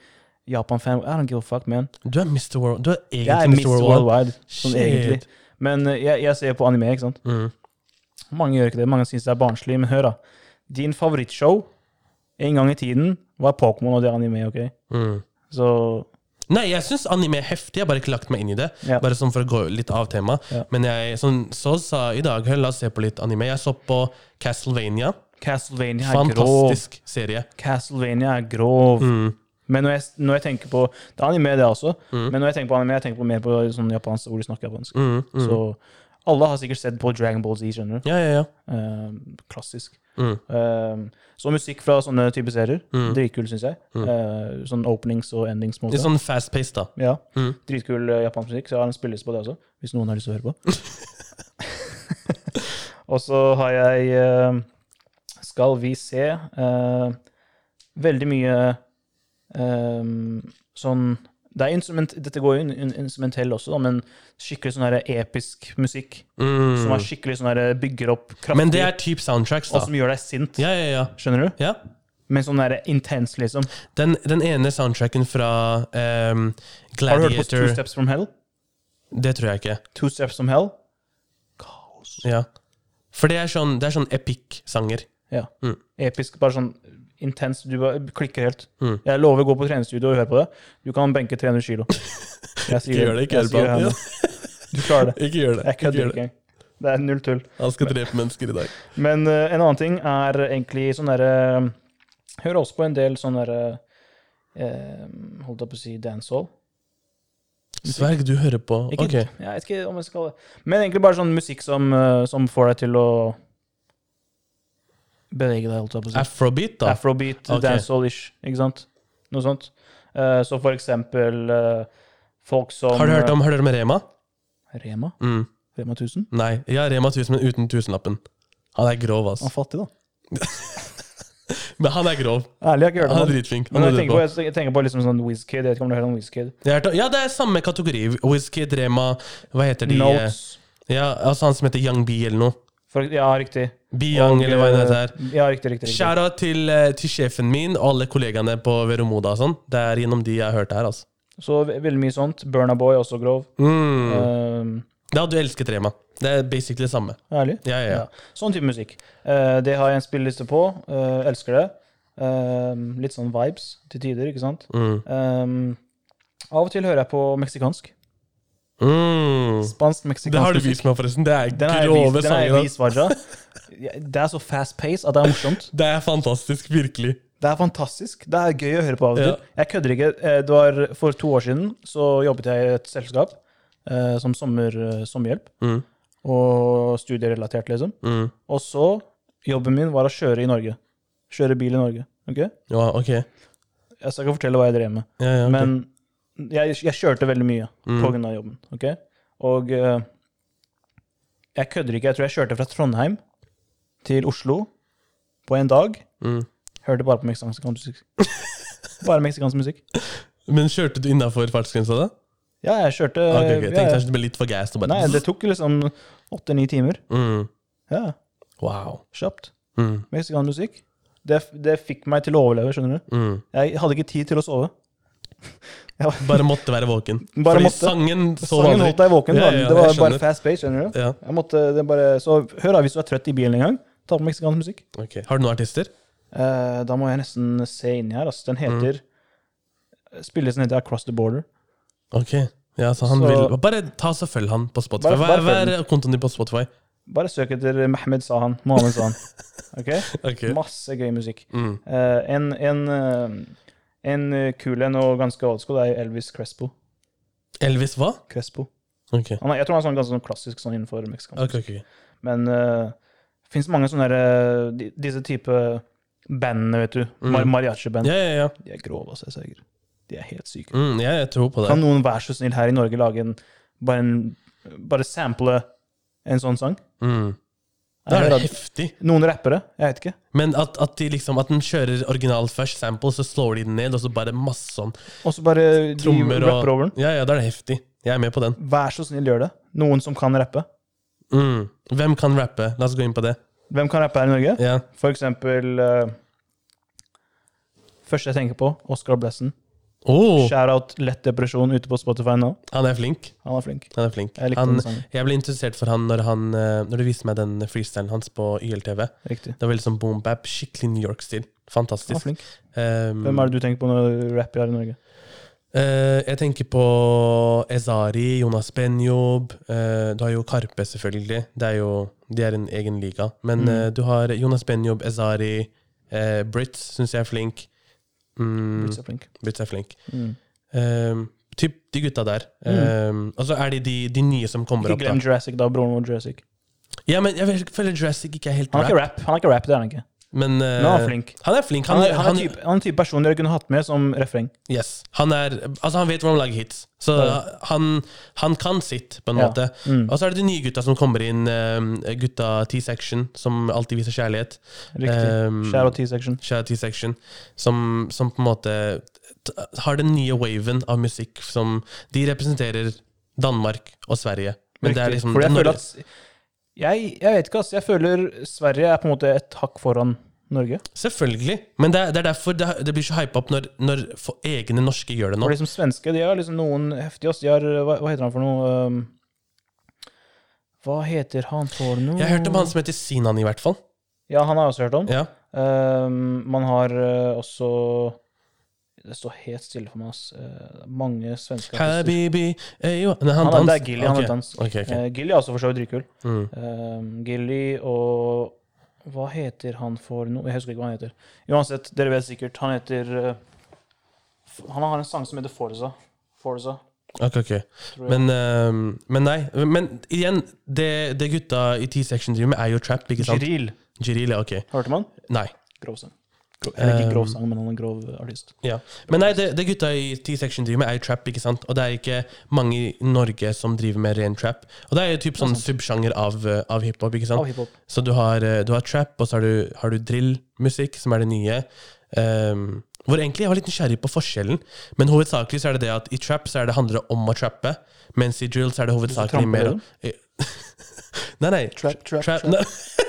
Japan-fan. I don't give a fuck, man. Du er Mr. World. Du er Jeg egentlig er Mr. Mr. World. Worldwide, sånn egentlig. Shit. Men eh, jeg, jeg ser på anime, ikke sant? Mm. Mange gjør ikke det, mange synes det er barnslig, men hør da. Din favorittshow, en gang i tiden, var Pokémon og det er anime, ok? Mm. Så Nei, jeg syns anime er heftig. Jeg har bare ikke lagt meg inn i det. Ja. Bare sånn for å gå litt av tema. Ja. Men jeg, sånn, så sa jeg i dag «Hør, La oss se på litt anime. Jeg så på Castlevania. Castlevania er grov. Fantastisk serie. Castlevania er grov. Mm. Men når jeg, når jeg tenker på Det er anime, det også. Men når jeg tenker på anime, jeg tenker på mer på sånn japansk hvor de snakker japansk. Mm. Mm. Så alle har sikkert sett på Dragon Ball Z, skjønner du. Ja, ja, ja. Eh, klassisk. Mm. Eh, så musikk fra sånne type serier. Dritkul, syns jeg. Mm. Eh, sånn openings og endings. på en måte. Litt sånn fast pace, da. Ja. Mm. Dritkul eh, japansk musikk, så jeg har en spilleliste på det også. Hvis noen har lyst til å høre på. og så har jeg eh, Skal vi se eh, Veldig mye eh, sånn det er instrument, Dette går jo inn- inn- instrumentell også, da, men skikkelig sånn her episk musikk. Mm. Som er skikkelig sånn her bygger opp kraftig, Men det er type soundtracks, og da. som gjør deg sint. Ja, ja, ja. Skjønner du? ja. Men sånn der intens, liksom. Den, den ene soundtracken fra ehm, Har du hørt på Two Gladiator Steps From Hell? Det tror jeg ikke. Two Steps From Hell. Ja. For det er sånn, det er sånn epic-sanger. Ja. Mm. Episk. Bare sånn intens. Du bare klikker helt. Mm. Jeg lover å gå på treningsstudio og høre på det. Du kan benke 300 kilo. Jeg sier Gjør det, ikke Jeg sier hjelp han. her nå. Du klarer det. Ikke gjør det. Jeg Ikke kødder gjør det. ikke. Det er null tull. Han skal drepe mennesker i dag. Men eh, en annen ting er egentlig sånn derre Hører også på en del sånn derre eh, Holdt jeg på å si dancehall. Sverg, du hører på. Ikke, Ok. Jeg vet ikke om jeg skal kalle det Men egentlig bare sånn musikk som, eh, som får deg til å bevege deg, holdt jeg på å si. Afrobeat, da. Afrobeat, Ok. dancehall-ish, ikke sant? Noe sånt. Eh, så for eksempel eh, folk som eh, Har du hørt om, har du hørt om Rema? Rema? Mm. Rema 1000? Nei. Ja, Rema 1000, men uten tusenlappen. Han er grov, Han er ass. fattig, da. Men han er grov. Ærlig, jeg har ikke hørt om Han er han. dritflink. Han Men jeg hører tenker på, på. jeg tenker på liksom sånn Wizkid. Jeg vet ikke om du har hørt om Wizkid. Jeg har hørt om- Ja, det er samme kategori. Wizkid, Rema, hva heter de? Notes. Ja, altså han som heter Young B eller noe. For, ja, riktig. B Young, Og, eller hva det heter. eh, Ja, riktig, riktig. riktig. Skjæra til, eh, til sjefen min og alle kollegaene på Veromoda og sånn. Det er gjennom de jeg har hørt her, altså. Så ve- veldig mye sånt. Burna Boy, også grov. Mm. Eh, Da hadde du elsket Rema. Det er basically det samme. ærlig. Ja, ja, ja. Ja. Sånn type musikk. Eh, det har jeg en spilleliste på. eh, elsker det. Eh, litt sånn vibes til tider, ikke sant? Mm. Um, av og til hører jeg på meksikansk. Mm. Spansk Det meksikansk har du vist meg, forresten. Det er Den er grove jeg sanger. ass. vist, Varja. Det er så fast pace at det er morsomt. Det er fantastisk, virkelig. Det er fantastisk. Det er gøy å høre på av og til. Ja. Jeg kødder ikke. Eh, Det var for to år siden så jobbet jeg i et selskap eh, som sommer, eh, sommerhjelp. Mm. Og studierelatert, liksom. Mm. Og så Jobben min var å kjøre i Norge. Kjøre bil i Norge. Ok? Ja, ok. Ja, Jeg skal ikke fortelle hva jeg drev med. ja, ok. Men jeg, jeg kjørte veldig mye Mm. på grunn av jobben. ok? Og eh, jeg kødder ikke. Jeg tror jeg kjørte fra Trondheim til Oslo på en dag. Mm. Hørte bare på meksikansk musikk. Bare meksikansk musikk. Men kjørte du innafor fartsgrensa da? Ja, jeg kjørte Ah, Ok, ok. Jeg Eh, ja, tenkte ja. kanskje du ble litt for gassed og bare Nei, det tok liksom åtte-ni timer. mm. Ja, Wow. Kjapt. Mm. Meksikansk musikk. Det, det fikk meg til å overleve, skjønner du. Mm. Jeg hadde ikke tid til å sove. Bare måtte være våken. Bare Fordi måtte. sangen sov Sangen holdt aldri. deg våken. Ja, da. ja, det jeg var skjønner. bare fast pace, skjønner du. Ja, Jeg måtte, det bare, så hør da, hvis du er trøtt i bilen en gang, ta på meksikansk musikk. ok. Har du noen artister? Eh, da må jeg nesten se inni her. Altså. Den Mm. heter Spillelsen heter Across the Border. Ok. Ja, så han Så- vil Bare ta så følg han på Spotify. Bare- bare Hva er- følg hva er kontoen din på Spotify? Bare søk etter Mehmed Sahan. Mohammed Sahan. Ok? Ok. Masse gøy musikk. Mm. Eh, en, en, eh, en eh, kul en og ganske old school er Elvis Crespo. Elvis hva? Crespo. Ok. Han er, jeg tror han er sånn, ganske sånn klassisk sånn innenfor meksikansk. Ok, ok. Men uh, det fins mange sånne der, eh, di- disse type bandene, vet du. Mar Mariachi-band. Mm. Ja, ja, ja. De er grove, altså. Jeg sverger. De er helt syke. Mm, ja, jeg tror på det. Kan noen være så snill her i Norge lage en Bare, en, bare sample en sånn sang? Mm. Jeg Det er hører det at heftig. noen rappere, jeg vet ikke. Men at, at de liksom At den kjører original først, sample, så slår de den ned, og så bare masse sånn Og så bare de trommer og rapper over den. Ja, ja, da er det heftig. Jeg er med på den. Vær så snill, gjør det. Noen som kan rappe. Mm. Hvem kan rappe? La oss gå inn på det. Hvem kan rappe her i Norge? Ja. For eksempel eh, Første jeg tenker på, Oscar Blessen. Oh, Shout-out Lett depresjon ute på Spotify nå. han er flink. Han er flink. Han er flink. Jeg likte han, den altså. sangen. jeg ble interessert for han når, han eh, når du viste meg den freestylen hans på YLTV. Riktig. Det var liksom boom-bap, skikkelig New York-stil. Han er Fantastisk. flink. Um, Hvem er det du tenker på når du rapper her i Norge? Eh, jeg tenker på Ezari, Jonas Benjob. eh, du har jo Karpe, selvfølgelig. Det er jo, de er en egen liga. Mm. Men eh, du har Jonas Benjob, Ezari, uh, Brits syns jeg er flink. Mm, Blitt så flink. Brits er flink. Mm. Eh, typ de gutta der. Eh, og så er det de, de nye som kommer Ikke opp. glem da Jurassic, da. Broren vår Jurassic. Ja, men Jeg vel- føler Jurassic ikke er helt Han er ikke rap. rap, han er ikke rap, det er han ikke. Men eh, Men han er flink. han er flink. Han, Han er, han han- er, type, han er type person dere kunne hatt med som refreng. Yes. Han, er, altså han vet hvordan man lager hits, så Ja. han, han kan sitt, på en Ja. måte. Mm. Og så er det de nye gutta som kommer inn, eh, gutta T-section, som alltid viser kjærlighet. Riktig. Um, Share og T-section. Kjære T-section, som, som på en måte t- har den nye waven av musikk som De representerer Danmark og Sverige. Men det er Riktig. liksom Fordi jeg Norge- føler at jeg, jeg vet ikke, ass. Jeg føler Sverige er på en måte et hakk foran Norge? Selvfølgelig. Men det er, det er derfor det, det blir så hypa opp når, når for egne norske gjør det nå. For liksom svenske, de har liksom noen heftige ass. De har hva, hva heter han for noe ehm, Hva heter han for noe Jeg har hørt om han som heter Sinan, i hvert fall. Ja, han har jeg også hørt om. Ja. Ehm, man har eh, også Det står helt stille for meg, ass. Eh, mange svenske artister. Habibi eh, jo. Nei, han, Han er- dans. det er Gilly, han er Ok, dans. ok, ok. Eh, Gilly er også for så vidt dritkul. Mm. Ehm, Gilly og Hva heter han for noe Jeg husker ikke hva han heter. Uansett, dere vet sikkert. Han heter eh, f- Han har en sang som heter Forza. Forza. Ok, ok. Tror jeg. Men, ehm, men nei. Men igjen, det, det gutta i T-section driver med, er jo trap, ikke sant? Jiril. Jiril, ja, ok. Hørte man? Nei. Grov sang. Eller ikke Um, grov sang, men han er en grov artist. Ja. Men nei, det, det gutta i T-section driver med, er jo trap, ikke sant? Og det er ikke mange i Norge som driver med ren trap. Og det er jo typ sånn subsjanger av, eh, av hiphop, ikke Av sant? hiphop. Så du har, eh, du har trap, og så har du, har du drillmusikk, som er det nye. Ehm, hvor egentlig jeg var litt nysgjerrig på forskjellen, men hovedsakelig så er det det at i trap så er det handler det om å trappe, mens i drill så er det hovedsakelig trampe det, mer om Nei, nei. Trap, trap, Trap, trap. nei.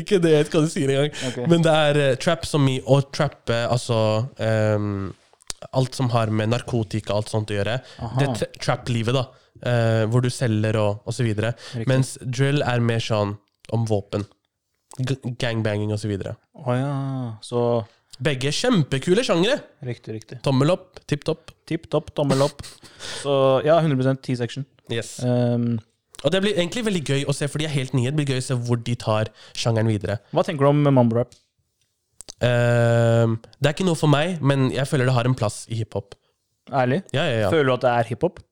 Ikke det, jeg vet ikke hva du sier engang. Ok. Men det er eh, trap som i å trappe, altså ehm, Alt som har med narkotika og alt sånt å gjøre. Det tra trap-livet, da. eh, hvor du selger og, og så videre. Mens drill er mer sånn om våpen. G gangbanging og så videre. Å ja. Så Begge kjempekule sjangere! riktig, riktig. Tommel opp, tipp topp. Tipp topp, tommel opp. Så ja, 100 T-section. Yes. Um, Og det blir egentlig veldig gøy å se, for de er helt nye. Det blir gøy å se hvor de tar sjangeren videre. hva tenker du om mambo-rap? Ehm, det er ikke noe for meg, men jeg føler det har en plass i hiphop. Ærlig? Ja, ja, ja. Føler du at det er hiphop?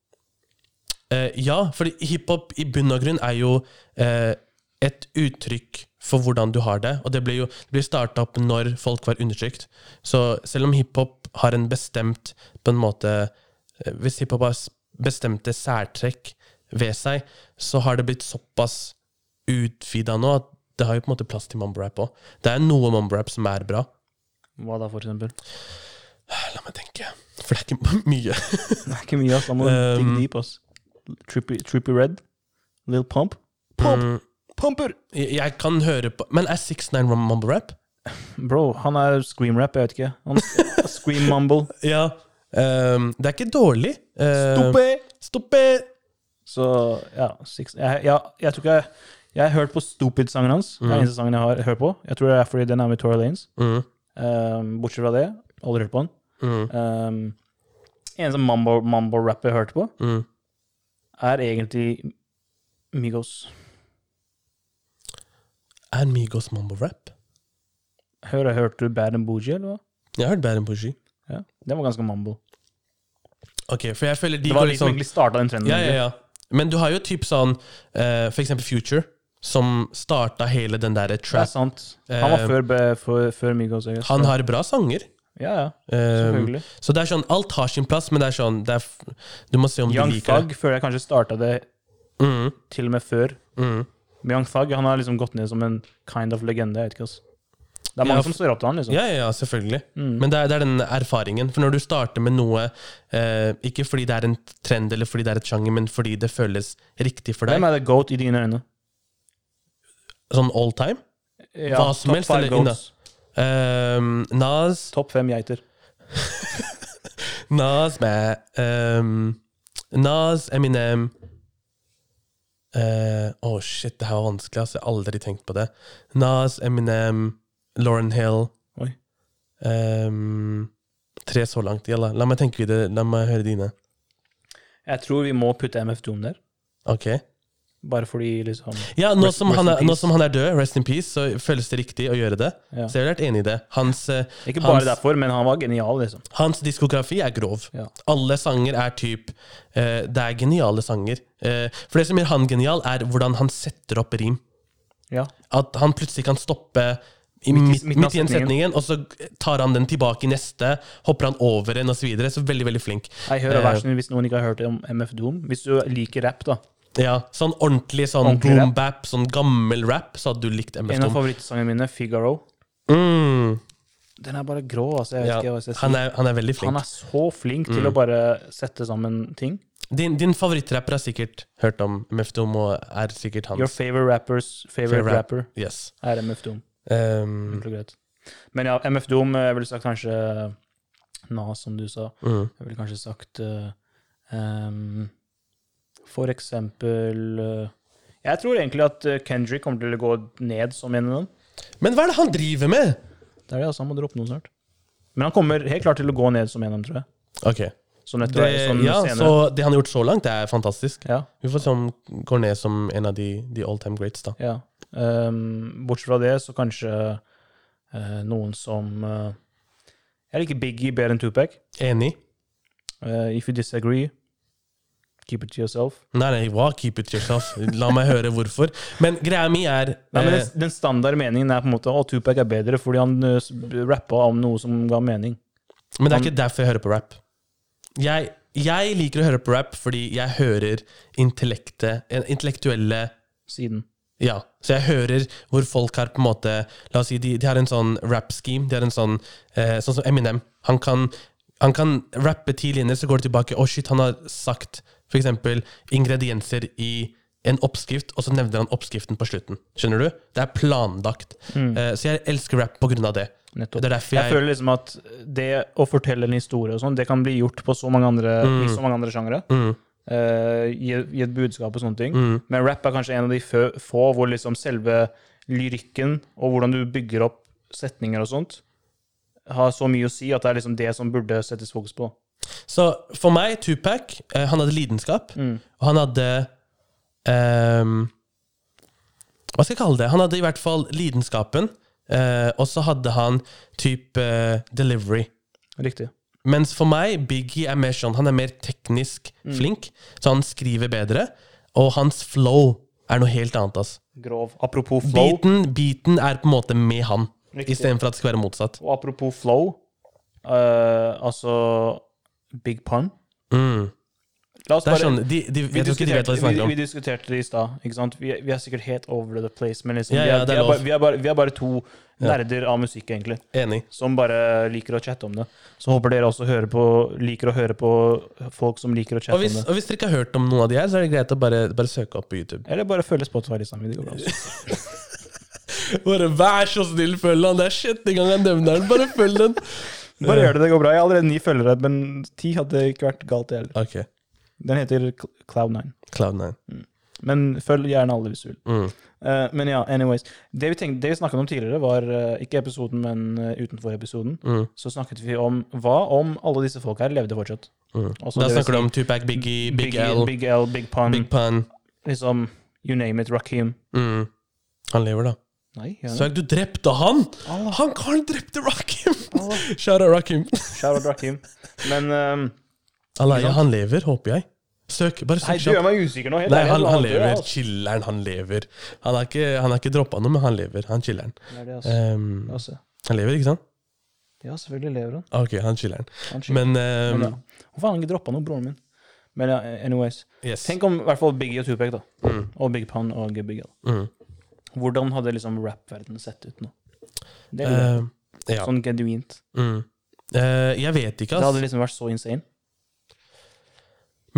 Eh, ja, fordi hiphop i bunn og grunn er jo eh, et uttrykk for hvordan du har det. Og det ble jo det ble starta opp når folk var undertrykt. Så selv om hiphop har en bestemt på en måte eh, Hvis hiphop har s- bestemte særtrekk ved seg, så har det blitt såpass utvida nå at det har jo på en måte plass til mumbrap òg. Det er noe mumbrap som er bra. Hva da, for eksempel? La meg tenke, for det er ikke mye. Det er ikke mye, ass. Da må du digge Um, deep, ass. Trippy, trippy Red? Lil Pump? Pump! Mm, Pumper! jeg jeg kan høre på Men er 69 mumbrap? Bro, han er scream-rap, jeg vet ikke. Han Scream-mumble. Ja. ehm, det er ikke dårlig. Ehm, Stoppe! Stoppe! Så ja, six, jeg, jeg, jeg tror ikke jeg Jeg har hørt på Stupid-sangen hans. Det er den eneste sangen jeg har hørt på. Jeg tror det er fordi den er med Tora Lanes. Mm, Um, bortsett fra det, aldri hørt på den. mm, Um, eneste mambo- mambo-rapper jeg hørte på, mm. er egentlig Migos. Er Migos mambo-rap? Hør, hørte du Bad and Boogie, eller hva? Jeg har hørt bedre enn Boogie. Ja, Den var ganske mambo. Ok, for jeg føler de Det var går de litt som sånn egentlig starta den trenden. Ja, ja, egentlig. ja. Men du har jo typ sånn eh, For eksempel Future, som starta hele den derre Det er trap. sant. Han var Eh, før, be- før, før Migos. jeg guess. Han har bra sanger. Ja, ja, Ehm, selvfølgelig. så det er sånn, alt har sin plass, men det er sånn det er, f- Du må se om Young du liker Thug føler jeg kanskje starta det det. Mm, til og med før mm. Men Young Thug han har liksom gått ned som en kind of legende. jeg vet ikke ass. Det er Ja, mange f- som står opp til han, liksom. Mm. Ja, ja, ja, selvfølgelig. Men det er, det er den erfaringen. For når du starter med noe, eh, ikke fordi det er en trend eller fordi det er et sjanger, men fordi det føles riktig for deg, Hvem er det goat i dine øyne? sånn all time Ja, Hva som topp helst, five eller inne? goats. Ehm, Nas Topp fem geiter. Nas meh. Ehm, Nas, Eminem Eh, Å, shit, det her var vanskelig. Altså. Jeg har aldri tenkt på det. Nas, Eminem, Lauren Hill Oi. Ehm, Tre så langt. Ja, la, la meg tenke videre. La meg høre dine. Jeg tror vi må putte MF Doom der. Ok Bare fordi liksom Ja, nå Rest- som, rest han in er, nå peace. som han er død, rest in peace, så føles det riktig å gjøre det. Ja. Så jeg har vært enig i det. Hans, eh, Ikke bare hans, derfor, men han var genial, liksom. hans diskografi er grov. Ja. Alle sanger er typ eh, Det er geniale sanger. Eh, for det som gjør han genial, er hvordan han setter opp rim. Ja. At han plutselig kan stoppe i Midt i- midt, midten av midt i en setningen, og så tar han den tilbake i neste, hopper han over en, og så videre. Så veldig, veldig flink. Jeg hører Eh, versen hvis noen ikke har hørt om MF Doom. Hvis du liker rap, da. Ja, sånn ordentlig sånn Ordentlig rap. boom-bap, sånn gammel rap, så hadde du likt MF En av Doom. favorittsangene mine, Figaro, Mm, den er bare grå. altså. Jeg vet ja. ikke hva jeg skal si. han, er, han er veldig flink. Mm. Han er så flink til å bare sette sammen ting. Din, din favorittrapper har sikkert hørt om MF Doom, og er sikkert hans. Your favorite rappers favorite Favorite rapper Yes. er MF Doom. Ehm, Enkelt og greit. Men ja, MF Doom, eh, jeg ville sagt kanskje Nas, som du sa. mm. Jeg ville kanskje sagt eh, ehm, For eksempel eh, Jeg tror egentlig at eh, Kendrick kommer til å gå ned som en av dem. Men hva er det han driver med?! Det er det, altså. Han må droppe noe snart. Men han kommer helt klart til å gå ned som en av dem, tror jeg. Ok. Som Det, nettopp, som ja, sånn senere. så det han har gjort så langt, det er fantastisk. Ja, Vi får se om han går ned som en av de, de all time greats, da. ja. Ehm, bortsett fra det, så kanskje eh, noen som eh, Jeg liker Biggie bedre enn Tupac. Enig? Eh, if you disagree, keep it to yourself. Nei, nei, wow, keep it yourself. La meg høre hvorfor. Men greia mi er Nei, men eh, den, den standard meningen er på en måte å, Tupac er bedre fordi han eh, s- rappa om noe som ga mening. Men det er ikke derfor jeg hører på rap. Jeg, jeg liker å høre på rap fordi jeg hører intellektet, en- intellektuelle Siden. Ja. Så jeg hører hvor folk har på en måte La oss si de, de har en sånn rap-scheme. De har en sånn eh, Sånn som Eminem. Han kan, han kan rappe ti linjer, så går det tilbake. Å, shit, han har sagt for eksempel ingredienser i en oppskrift, og så nevner han oppskriften på slutten. Skjønner du? Det er planlagt. Eh, så jeg elsker rap på grunn av det. Nettopp. Det er derfor Jeg, jeg, føler liksom at det å fortelle en historie og sånn, det kan bli gjort på så mange andre, Mm. i så mange andre sjangere. Eh, gi, gi et budskap og sånne ting. Mm. Men rap er kanskje en av de få, få hvor liksom selve lyrikken og hvordan du bygger opp setninger og sånt, har så mye å si at det er liksom det som burde settes fokus på. Så for meg, Tupac, eh, han hadde lidenskap, Mm. og han hadde ehm, Hva skal jeg kalle det? Han hadde i hvert fall lidenskapen, eh, og så hadde han type eh, delivery. Riktig. Mens for meg, Biggie er mer sånn, han er mer teknisk Mm. flink, så han skriver bedre, og hans flow er noe helt annet, ass. Grov. Apropos flow. Beaten, beaten er på en måte med han, Riktig. istedenfor at det skal være motsatt. Og apropos flow, eh, altså Big Pun Mm. La oss Det bare er sånn, de, de, vi jeg tror ikke de vet diskuterte, hva de vi, snakker om. vi diskuterte det i stad. ikke sant? Vi, vi er sikkert helt over the place, men liksom, Ja, vi, ja, er, det er vi, er lov. bare, vi, er bare, vi er bare to nerder av musikk, egentlig, Enig. som bare liker å chatte om det. Så håper dere også hører på, liker å høre på folk som liker å chatte Og hvis, om det. og hvis dere ikke har hørt om noen av de her, så er det greit å bare, bare søke opp på YouTube. Eller bare følge Spotify sammen. Det går bra. også. Bare Vær så snill, følg han! Det er sjette gang jeg nevner den. Bare følg den! Bare gjør det, det går bra. Jeg har allerede ni følgere, men ti hadde ikke vært galt, det heller. Ok. Den heter Cl- Cloud9. Cloud9. Men følg gjerne alle hvis du vil. Mm. Eh, men ja, anyways. Det vi, tenkte, det vi snakket om tidligere, var eh, ikke episoden, men eh, utenfor episoden. Mm. Så snakket vi om hva om alle disse folk her levde fortsatt. Mm. Altså, da det vil si snakker du om Tupac, Biggie, Big, Big L, Big, Big L, Big Pun, Pun. liksom You name it, Rakim. Mm. Han lever, da. Nei, ja. Ah. Så du drepte han! Allah, Han karen drepte Rakim! Allah. Shout out Rakim. Shout out Rakim. Men ehm, Allah, ja, han lever, håper jeg. Søk, bare Nei, søk du gjør kjapt. meg usikker nå. Helt Nei, ærlig, han, jeg han tror dør, lever. altså. Chiller'n, han lever. Han har ikke, han har ikke droppa noe, men han lever. Han chiller'n. Det er det, altså. Um, Altså, han lever, ikke sant? Ja, selvfølgelig lever han. Ok, han chiller'n. han skyter. Men, Men, um, ja. Hvorfor har han ikke droppa noe, broren min? Men ja, anyways. Yes. Tenk om i hvert fall Biggie og Tupac, da. Mm. Og Big Pun og Big L. Mm. Hvordan hadde liksom rap-verdenen sett ut nå? Det lurer jeg Eh, på. ja. Sånn genuint. Mm. Eh, jeg vet ikke, Det hadde ass. liksom vært så insane.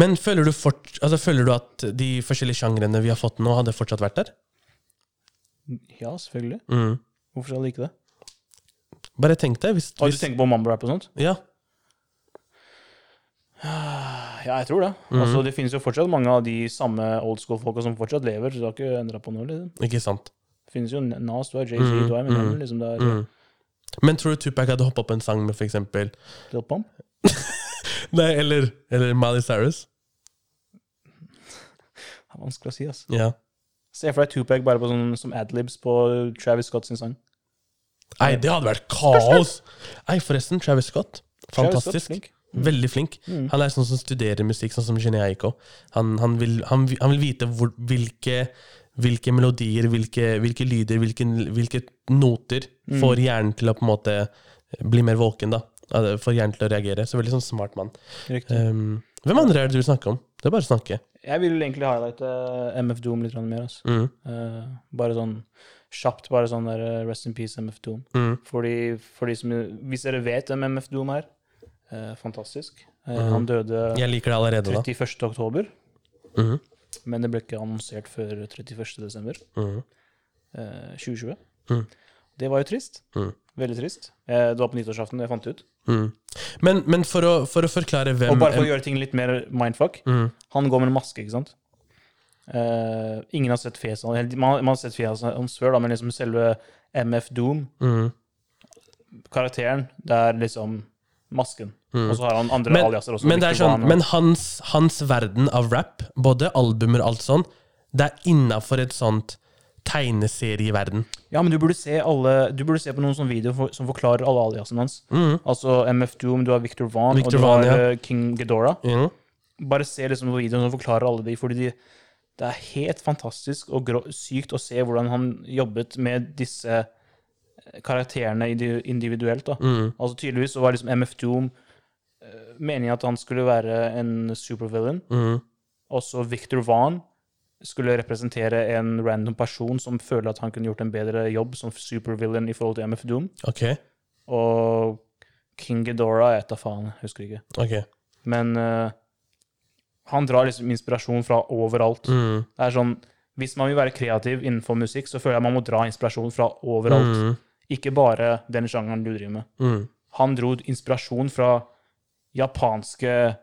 Men føler du, fort, altså, føler du at de forskjellige sjangrene vi har fått nå, hadde fortsatt vært der? Ja, selvfølgelig. Mm. Hvorfor skal det ikke det? Bare tenk deg hvis, Har du hvis tenkt på mambo-rap og sånt? Ja. Ja, jeg tror det. Altså, det finnes jo fortsatt mange av de samme old school-folka som fortsatt lever. Så det har ikke endra på noe. liksom. Ikke sant? Det finnes jo Nas, du har Jay-Z, du har Eminem. liksom, det er Mm. Men tror du Tupac hadde hoppa på en sang med f.eks. Lil Pump. Nei, eller, eller Miley Cyrus? Det er vanskelig å si, ass. Ja. Se for deg Tupac bare på sånn, som adlibs på Travis Scott sin sang. Nei, det hadde vært kaos! Nei, forresten, Travis Scott. Travis Fantastisk. Scott, flink. Mm. Veldig flink. Han er sånn som studerer musikk, sånn som Genia Eiko. Han, han, vil, han, vil- han vil vite hvor, hvilke, hvilke melodier, hvilke, hvilke lyder, hvilke, hvilke noter Mm. får hjernen til å på en måte eh, bli mer våken, da. Altså, Får hjernen til å reagere. Så veldig sånn smart mann. Riktig. Um, hvem andre er det du vil snakke om? Det er bare å snakke. Jeg vil egentlig highlighte MF Doom litt grann mer. ass. Mm, Eh, bare sånn kjapt, bare sånn der eh, Rest in peace, MF Doom. mm, For de, for de som, hvis dere vet hvem MF Doom er, eh, fantastisk. Eh, Mm. Han døde Jeg liker det allerede, da. 31. oktober, Mm, men det ble ikke annonsert før 31. desember mm, eh, 2020. Mm. Det var jo trist. Mm. Veldig trist. Eh, Det var på nyttårsaften jeg fant det ut. Mm. Men, men for, å, for å forklare hvem Og bare for å gjøre ting litt mer mindfuck Mm. Han går med en maske, ikke sant? Eh, ingen har sett fjeset hans. Helt- Man, man har sett fjeset hans før, da, men liksom selve MF Doom, Mm. karakteren, det er liksom masken. Og så har han andre Mm. Men- aliaser også. Men, det er riktig hva sånn, han er. men hans, hans verden av rap, både albumer og alt sånn, det er innafor et sånt tegneserieverden. Ja, men du burde se, alle, du burde se på noen sånne videoer for, som forklarer alle aliasene hans. Altså MF Doom, du har Victor Van, Mm. Victor og du Vaughn, har ja. eh, King Ghidorah. Mm. Bare se liksom på videoen som forklarer alle de, fordi de, det er helt fantastisk og grå, sykt å se hvordan han jobbet med disse eh, karakterene indi- individuelt. da. Altså Tydeligvis så var liksom MF Doom eh, meningen at han skulle være en supervillain. Mm. Også Victor Van skulle representere en random person som føler at han kunne gjort en bedre jobb som supervillain i forhold til MF Doom. Ok. Og King Ghidorah, jeg vet da faen, jeg husker ikke. ok. Men eh, han drar liksom inspirasjon fra overalt. Mm. Det er sånn, Hvis man vil være kreativ innenfor musikk, så føler jeg man må dra inspirasjon fra overalt. Mm. Ikke bare den sjangeren du driver med. Mm. Han dro inspirasjon fra japanske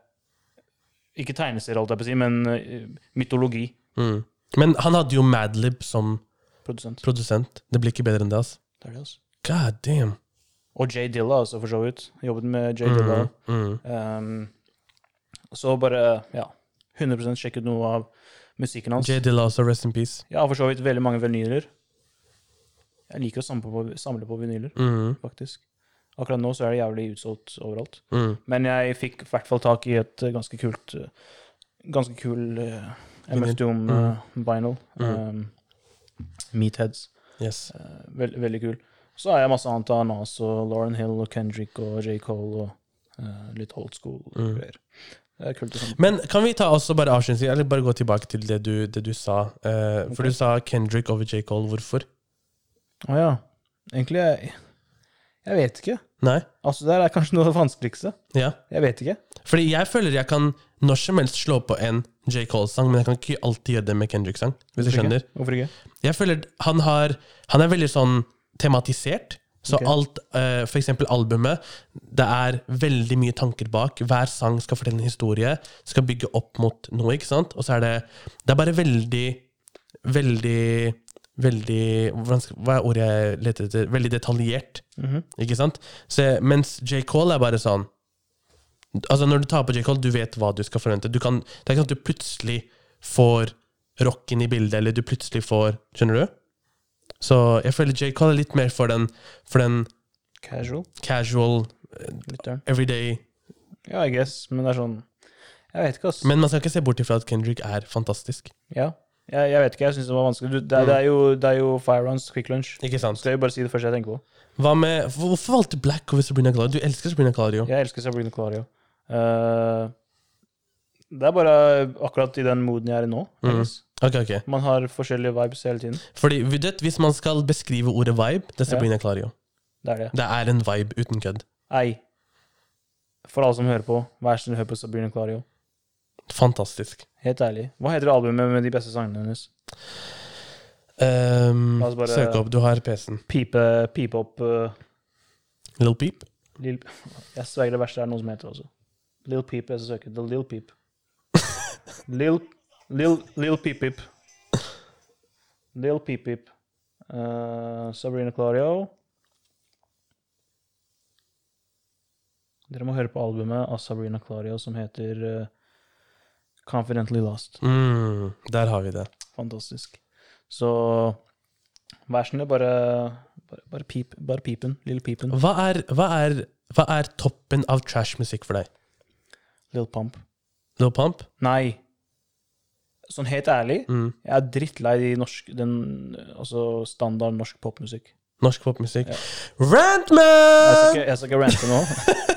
Ikke tegneserier, holdt jeg på å si, men eh, mytologi. Mm. Men han hadde jo Madlib som Produsent. produsent. Det blir ikke bedre enn det, altså. Det er det, altså. God damn. Og Jay Dilla, altså, for så vidt. Jobbet med Jay Dilla. Mm. Mm. Um, så bare, ja 100 sjekk ut noe av musikken hans. J. Dilla også, rest in peace. Jeg har for så vidt veldig mange vinyler. Jeg liker å samle på, samle på vinyler, Mm. faktisk. Akkurat nå så er det jævlig utsolgt overalt. Mm. Men jeg fikk i hvert fall tak i et eh, ganske kult eh, Ganske kul uh, MF Vinyl. Doom Mm. eh, vinyl. Um, Meatheads. Yes. Eh, Veld, veldig kul. Så har jeg masse annet av Nas og Lauren Hill og Kendrick og J. Cole og eh, litt old school Mm. greier. Det er kult å samle. Men kan vi ta også bare avslutningsvis, eller bare gå tilbake til det du, det du sa? eh, For Ok. du sa Kendrick over J. Cole. Hvorfor? Å ja. Egentlig jeg, jeg vet ikke. Nei? Altså, det her er kanskje noe av det vanskeligste. Ja. Jeg vet ikke. Fordi jeg føler jeg kan når som helst slå på en J. Cole-sang, men jeg kan ikke alltid gjøre det med Kendrick-sang. Hvis du Hvorfor skjønner ikke? Hvorfor ikke? Jeg føler han, har, han er veldig sånn tematisert. Så Ok. alt, eh, for eksempel albumet, det er veldig mye tanker bak. Hver sang skal fortelle en historie, skal bygge opp mot noe, ikke sant? Og så er det Det er bare veldig, veldig Veldig hvordan skal, Hva er ordet jeg leter etter? Veldig detaljert, Mhm. ikke sant? Så, mens J. Cole er bare sånn Altså Når du tar på J. Cole, du vet hva du skal forvente. Du kan, det er ikke sånn at du plutselig får rocken i bildet, eller du plutselig får Skjønner du? Så jeg føler J. Cole er litt mer for den, for den Casual. casual, Lytteren. everyday Ja, I guess, men det er sånn Jeg vet ikke, ass. Men man skal ikke se bort ifra at Kendrick er fantastisk. ja. jeg, jeg vet ikke, jeg syns det var vanskelig. Du, det, er- det, er jo, det er jo Fire Rounds Quick Lunch. Ikke sant? Skal jeg bare si det første jeg tenker på? Hva med, Hvorfor valgte Black over Sabrina Claudio? Du elsker Sabrina Claudio. Jeg elsker Sabrina Clario. Eh, det er bare akkurat i den moden jeg er i nå. I Mhm. guess. Ok, ok. Man har forskjellige vibes hele tiden. Fordi vi vet, Hvis man skal beskrive ordet vibe, det Ja. er Sabrina Claudio. Det er det. Det er en vibe uten kødd. Ei. For alle som hører på, vær så snill, hør på Sabrina Clario. Fantastisk. Helt ærlig. Hva heter albumet med de beste sangene hennes? Um, La oss bare- Søk opp. Du har PC-en. Pipe, pipe opp eh, Little Peep. Lil, jeg sverger det verste er noe som heter det også. Lil Peep, jeg skal søke. The Lil Peep. Lil, Lil, Lil Peep Peep. Lil Peep Peep. Eh, Sabrina Clario. Dere må høre på albumet av Sabrina Clario som heter eh, Confidently Lost. Mm, der har vi det. Fantastisk. Så vær så snill, bare, bare, bare pip. Bare pipen. Lille pipen. Hva er, hva er, hva er toppen av trash-musikk for deg? Lil Pump. Lil Pump? Nei. Sånn helt ærlig, Mm. jeg er drittlei de norsk, den, altså standard norsk popmusikk. Norsk popmusikk? Ja. Jeg skal Rantman! ikke, jeg skal ikke rante nå.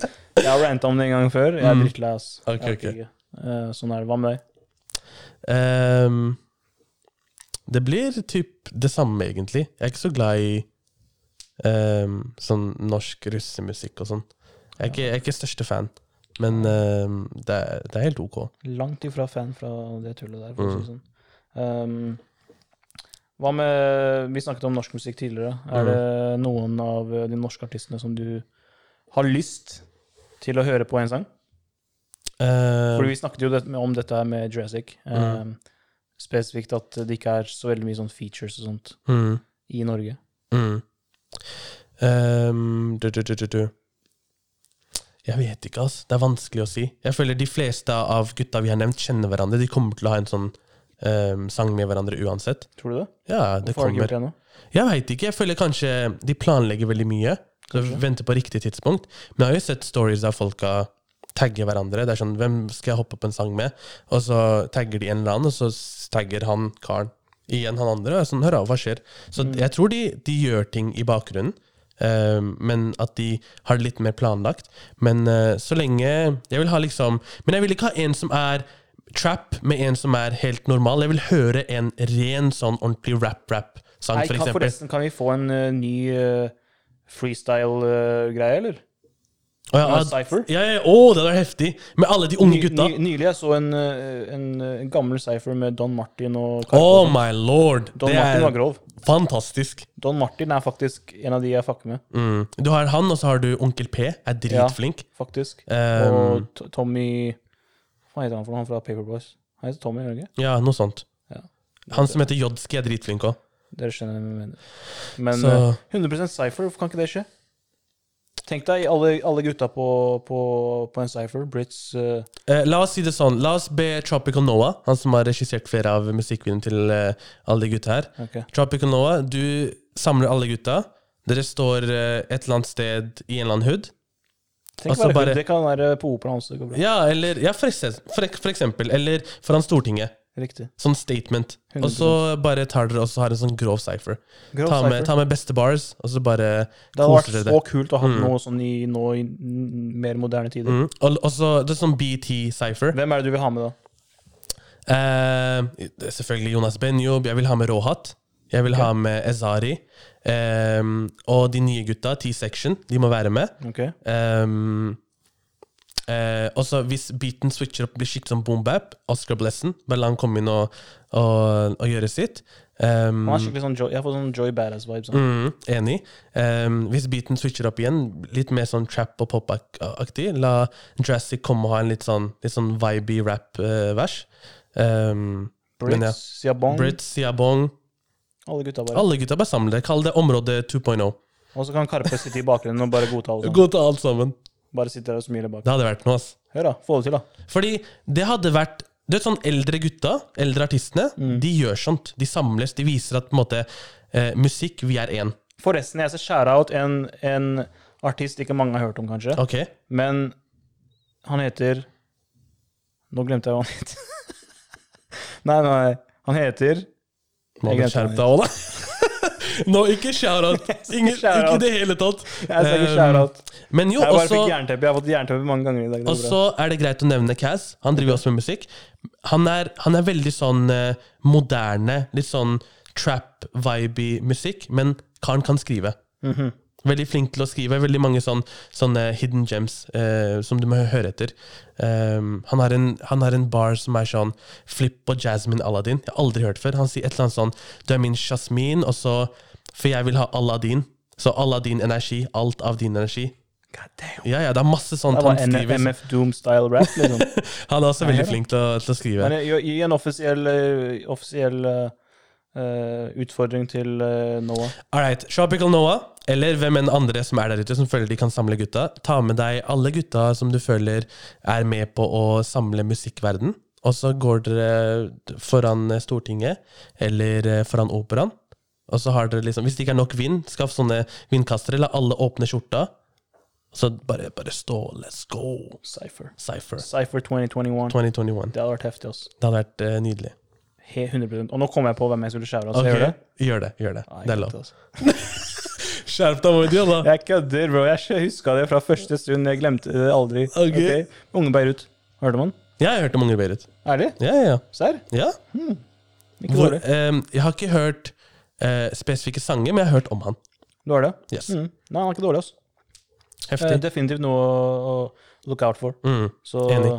Men jeg har ranta om det en gang før. Jeg er Mm. drittlei, ass. Jeg Ok, orker ok. ikke. Eh, Sånn er det. Hva med deg? Um, det blir typ det samme, egentlig. Jeg er ikke så glad i um, sånn norsk russemusikk og sånn. Jeg er ikke, jeg er ikke største fan, men um, det, er, det er helt ok. Mm. Langt ifra fan fra det tullet der, for å si det sånn. Um, Ehm, Hva med, Vi snakket om norsk musikk tidligere. Mm. Er det noen av de norske artistene som du har lyst til å høre på en sang? Eh, Mhm. Fordi vi snakket jo det, om dette her med Jurassic. eh, spesifikt at det ikke er så veldig mye sånn features og sånt mm, i Norge. mm. Ehm, du, du, du, du, du. Jeg vet ikke, altså. Det er vanskelig å si. Jeg føler de fleste av gutta vi har nevnt, kjenner hverandre. De kommer til å ha en sånn ehm, sang med hverandre uansett. Tror du det? Ja, det Hvorfor har du ikke kommer. gjort det ennå? Jeg veit ikke. Jeg føler kanskje de planlegger veldig mye. Så venter på riktig tidspunkt. Men jeg har jo sett stories av folka tagge hverandre. Det er sånn, Hvem skal jeg hoppe opp en sang med? Og så tagger de en eller annen, og så s- tagger han karen igjen han andre. Og jeg er sånn, hør da, hva skjer? Så jeg tror de, de gjør ting i bakgrunnen. eh, men at de har det litt mer planlagt. Men eh, så lenge Jeg vil ha liksom Men jeg vil ikke ha en som er trap med en som er helt normal. Jeg vil høre en ren sånn ordentlig rap-rap-sang, Nei, for kan, eksempel. forresten, kan vi få en eh, ny eh, freestyle-greie, eller? Å, ja, Med at- Cypher? Ja, ja, å, det hadde vært heftig! Med alle de unge Ny, gutta. ny, nylig jeg så en, eh, en, eh, en gammel cypher med Don Martin og Karpe. Oh my lord! Don det Martin var er grov. fantastisk. Don Martin er faktisk en av de jeg fucker med. Mm. Du har han, og så har du Onkel P. Er dritflink. faktisk. Eh, og T- Tommy Hva heter han for noe? Han fra Paperboys. Han heter Tommy, gjør han ikke? Ja, noe sånt. Ja. Han som heter Jodski, er dritflink òg. Dere skjønner hva jeg mener. Men Så- eh, 100 cypher, hvorfor kan ikke det skje? Tenk deg alle, alle gutta på, på, på en cypher. Brits eh, Eh, la oss si det sånn. La oss be Tropical Noah, han som har regissert flere av musikkvideoene til eh, alle de gutta her ok. Tropical Noah, du samler alle gutta. Dere står eh, et eller annet sted i en eller annen hood. Tenk å Altså være bare- hood, Det kan være på operaen også. Det går bra. Ja, eller ja, for, ekse- for, ek- for eksempel. Eller foran Stortinget. Riktig. Sånn statement. Og så bare tar dere og så har en sånn grov cypher. Grov Ta, med- cypher. ta med beste bars, og så bare Det hadde vært koser dere. så kult å ha noe sånn i, nå i n- mer moderne tider. Mm. Og, og så det er sånn BT-cypher. Hvem er det du vil ha med, da? Eh, det er selvfølgelig Jonas Benjob. Jeg vil ha med Råhatt. Jeg vil ha med Ezari. Eh, og de nye gutta, T-section, de må være med. Ok, Um, eh, og så hvis beaten switcher opp blir skikkelig sånn boom-bap, Oscar Blessen, bare la han komme inn og, og, og gjøre sitt. Um, Han er skikkelig sånn Joy, Jeg får sånn Joy Badass-vibes. han. mm, enig. Um, hvis beaten switcher opp igjen, litt mer sånn trap og pop-aktig, la Jurassic komme og ha en litt sånn, litt sånn vibey eh, rap-vers. um, men ja. Brits, Siabong, Brits, Siabong alle gutta bare. Alle gutta bare samle dere. Kall det område oh. 2.0. Og så kan Karpe sitte i bakgrunnen og bare godta alle sammen. Gå til alt sammen. Bare sitte der og smile bak. Det hadde vært noe, ass. Hør, da. Få det til, da. Fordi det hadde vært Du vet sånn eldre gutta, eldre artistene, de gjør sånt. De samles, de viser at på en måte eh, Musikk, vi er én. Forresten, jeg skal skjære out en, en artist ikke mange har hørt om, kanskje. Ok? Men han heter Nå glemte jeg hva han heter. nei, nei, nei. Han heter Må du Jeg skjerpe glemte deg òg, da. Nå, ikke shout-out. Ingen- shout-out. Ikke i det hele tatt. Jeg skal ikke Um, skjære out. Men jo, Jeg bare også fikk jernteppe. Jeg har fått jernteppe mange ganger i dag. Og Det er bra. så er det greit å nevne Kaz. Han driver også med musikk. Han er, han er veldig sånn eh, moderne, litt sånn trap-vibey musikk, men karen kan skrive. Mhm. Veldig flink til å skrive. Veldig mange sånn, sånne hidden gems eh, som du må høre etter. Um, han, har en, han har en bar som er sånn Flip og Jasmine Aladdin. Jeg har aldri hørt før. Han sier et eller annet sånn Du er min Jasmin, og så For jeg vil ha Aladdin. Så Aladdin energi. Alt av din energi. God damn. Ja, ja, det er masse sånt Det han var en skriver. MF Doom-style rap, liksom. Han er også veldig hører. flink til å, til å skrive. Men gi gi en offisiell, eh, offisiell eh, eh, utfordring til eh, Noah. Alright, Tropical Noah, eller hvem enn andre som er der ute, som føler de kan samle gutta, ta med deg alle gutta som du føler er med på å samle musikkverden. Og så går dere foran Stortinget, eller eh, foran operaen. Og så har dere liksom, Hvis det ikke er nok vind, skaff sånne vindkastere. La alle åpne skjorta. Så bare, bare stå. Let's go. Cypher. Cypher Cypher 2021. 2021. Det hadde vært heftig. ass. Det hadde vært eh, nydelig. He- 100 Og nå kom jeg på hvem jeg skulle skjære av. så Ok, jeg gjør det. Gjør det. gjør det. Nei, Det er jeg lov. kødder, ass. Skjerp deg, Mohammed. da. Jeg kødder, bro. Jeg huska det fra første stund. Jeg glemte det aldri. Ok. Ok. Unge Beirut. Hørte man? Jeg har hørt om Unger Berit. Ærlig? Ja, ja, ja. Serr? ja. Ikke Hvor, dårlig. ehm, jeg har ikke hørt eh, spesifikke sanger, men jeg har hørt om han. Du har det? Yes. Mm. Nei, han er ikke dårlig, ass. Eh, Heftig. definitivt noe å å look out for. Mm, Så Enig.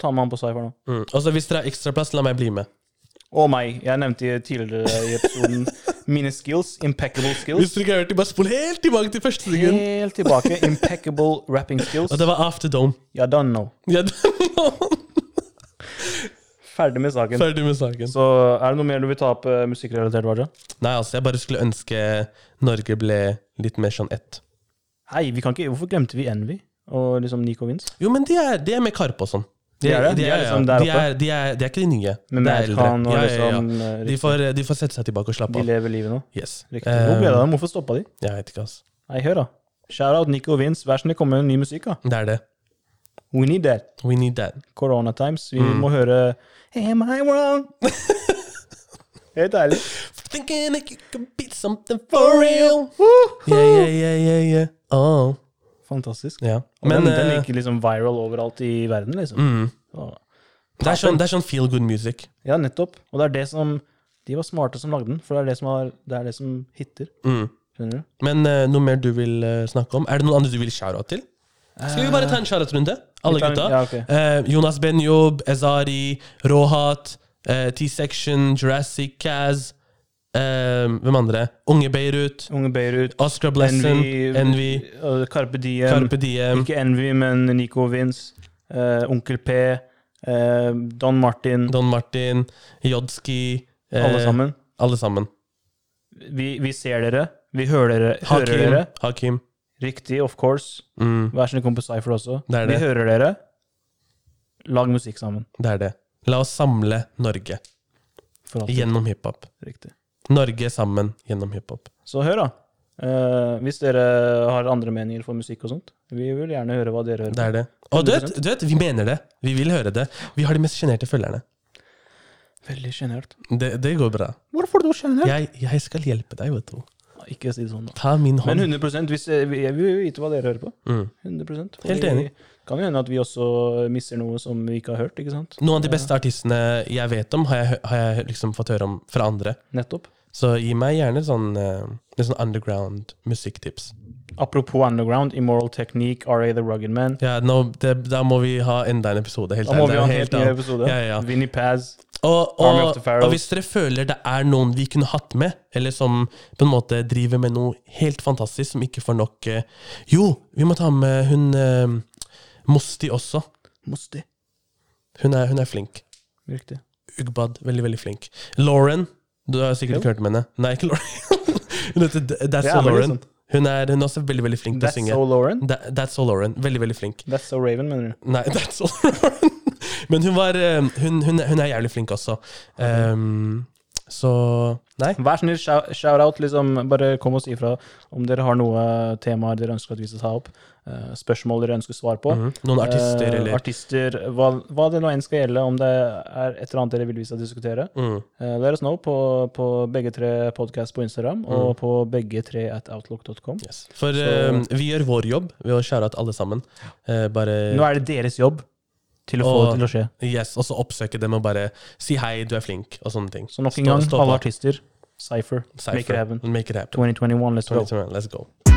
ta med han på cypher nå. mm. Og så hvis dere har ekstraplass, la meg bli med. Og meg. Jeg nevnte i- tidligere i episoden Mine skills, impeccable Hvis skills. dere ikke har hørt det, bare spol helt tilbake til første sekund. Helt tilbake. Impeccable rapping skills. Og det var after dome. Yeah, done now. Ja, da- Ferdig med saken. Ferdig med saken. Så er det noe mer du vil ta opp eh, musikkrelatert, Raja? Nei, altså, jeg bare skulle ønske Norge ble litt mer sånn ett. Hei, vi kan ikke Hvorfor glemte vi Envy og liksom Nico Vince? Jo, men de er, de er med Karpe og sånn. De er det? De er liksom der de oppe? er, de er, de er ikke de nye. Med Det er eldre. Madcon og Ja, ja, ja. liksom eh, De får, de får sette seg tilbake og slappe De av. lever livet nå. Yes. Riktig. Hvor ble det Eh, av dem? Hvorfor stoppa de? Jeg vet ikke, altså. Nei, hør, da. Shout-out Nico Vince. Vær så snill, kom med ny musikk, da. Det er det. We need that. We need that. Corona times. Vi Mm. må høre Am I wrong? Helt ærlig. Thinking that you can be something for real. Yeah, yeah, yeah, yeah, yeah. Oh. Fantastisk. Ja. Men, Men den, den eh, gikk liksom viral overalt i verden, liksom. mm, Så- det, er sånn, det er sånn feel good music. Ja, nettopp. Og det er det som De var smarte som lagde den, for det er det som, har, det er det som hitter. Mm. Skjønner du? Men eh, noe mer du vil eh, snakke om? Er det noen andre du vil shout-out til? Skal vi bare ta en shout-out-runde? Vi Alle tar en- gutta. ja, ok. Eh, Jonas Benjob, Ezari, Rohat, eh, T-Section, Jurassic Kaz eh, Hvem andre? Unge Beirut, Unge Beirut, Oscar Blesson, Envy, Envy, øh, Carpe Diem. Carpe Diem. Ikke Envy, men Nico Vince. eh, Onkel P. eh, Don Martin. Don Martin, Jodski eh, alle sammen. Alle sammen. Vi, vi ser dere. Vi hører dere. Hører Hakim. dere. Hakim. Riktig, of course. Mm, Vær så snill, kom på Cypher også. Det er det. Vi hører dere. Lag musikk sammen. det er det. La oss samle Norge For alltid. gjennom hiphop. Riktig. Norge sammen gjennom hiphop. Så hør, da. Eh, hvis dere har andre meninger for musikk og sånt, vi vil gjerne høre hva dere hører. Det er det. Og du vet, du vet, vi mener det. Vi vil høre det. Vi har de mest sjenerte følgerne. Veldig sjenert. Det, det går bra. Hvorfor du sjenert? Jeg, jeg skal hjelpe deg, vet du. Ikke si det sånn, da. Ta min Men hånd. 100 hvis, eh, vi, Jeg vil jo vite hva dere hører på. Mm. 100 Og Helt vi- enig. Kan jo hende at vi også mister noe som vi ikke har hørt. ikke sant? Noen av de beste artistene jeg vet om, har jeg, hø- har jeg liksom fått høre om fra andre. Nettopp. Så gi meg gjerne sånn, eh, litt sånn underground musikktips. Apropos Underground, Immoral Technique, RA The Rugged Man. Ja, nå, det, da må vi ha enda en episode. Helt Da må ærlig. vi Det er ha en jo helt ny annet. episode. Ja, ja. Vinnie Paz. Og, Army of og, the Pharaohs. og hvis dere føler det er noen vi kunne hatt med, eller som på en måte driver med noe helt fantastisk som ikke får nok eh, Jo, vi må ta med hun eh, Mosti også. Mosti. Hun er, hun er flink. Riktig. Ugbad. Veldig, veldig flink. Lauren. Du har sikkert ikke hørt om henne. Nei, ikke Lauren. hun heter D- That's Ja, So men Lauren. liksom. Hun er, hun er også veldig, veldig flink til å That's synge. So Lauren. Da- That's So Lauren. Veldig, veldig flink. That's So Raven, mener du? Nei, that's all right. Men hun, var, eh, hun, hun, hun er jævlig flink også. Ehm, så Nei. Vær snill, shou- shout-out. Liksom, bare kom og si ifra om dere har noe temaer dere ønsker at vi skal ta opp. eh, Spørsmål dere ønsker svar på. Mhm. Noen artister Eh, eller artister hva, hva det nå enn skal gjelde, om det er et eller annet dere vil vi skal diskutere. mm. Uh, let us know på, på begge tre podkast på Instagram, Mm. og på begge tre at outlook.com. yes. For ehm, vi gjør vår jobb ved å skjære ut alle sammen. Eh, bare Nå er det deres jobb til å få Og- det til å skje. Yes, Og så oppsøke dem og bare si hei, du er flink, og sånne ting. Så nok en Stå- gang, stå alle på. artister, Cypher, Cypher. Make It Happen. Make it happen. 2021, let's go. 2021, Let's go.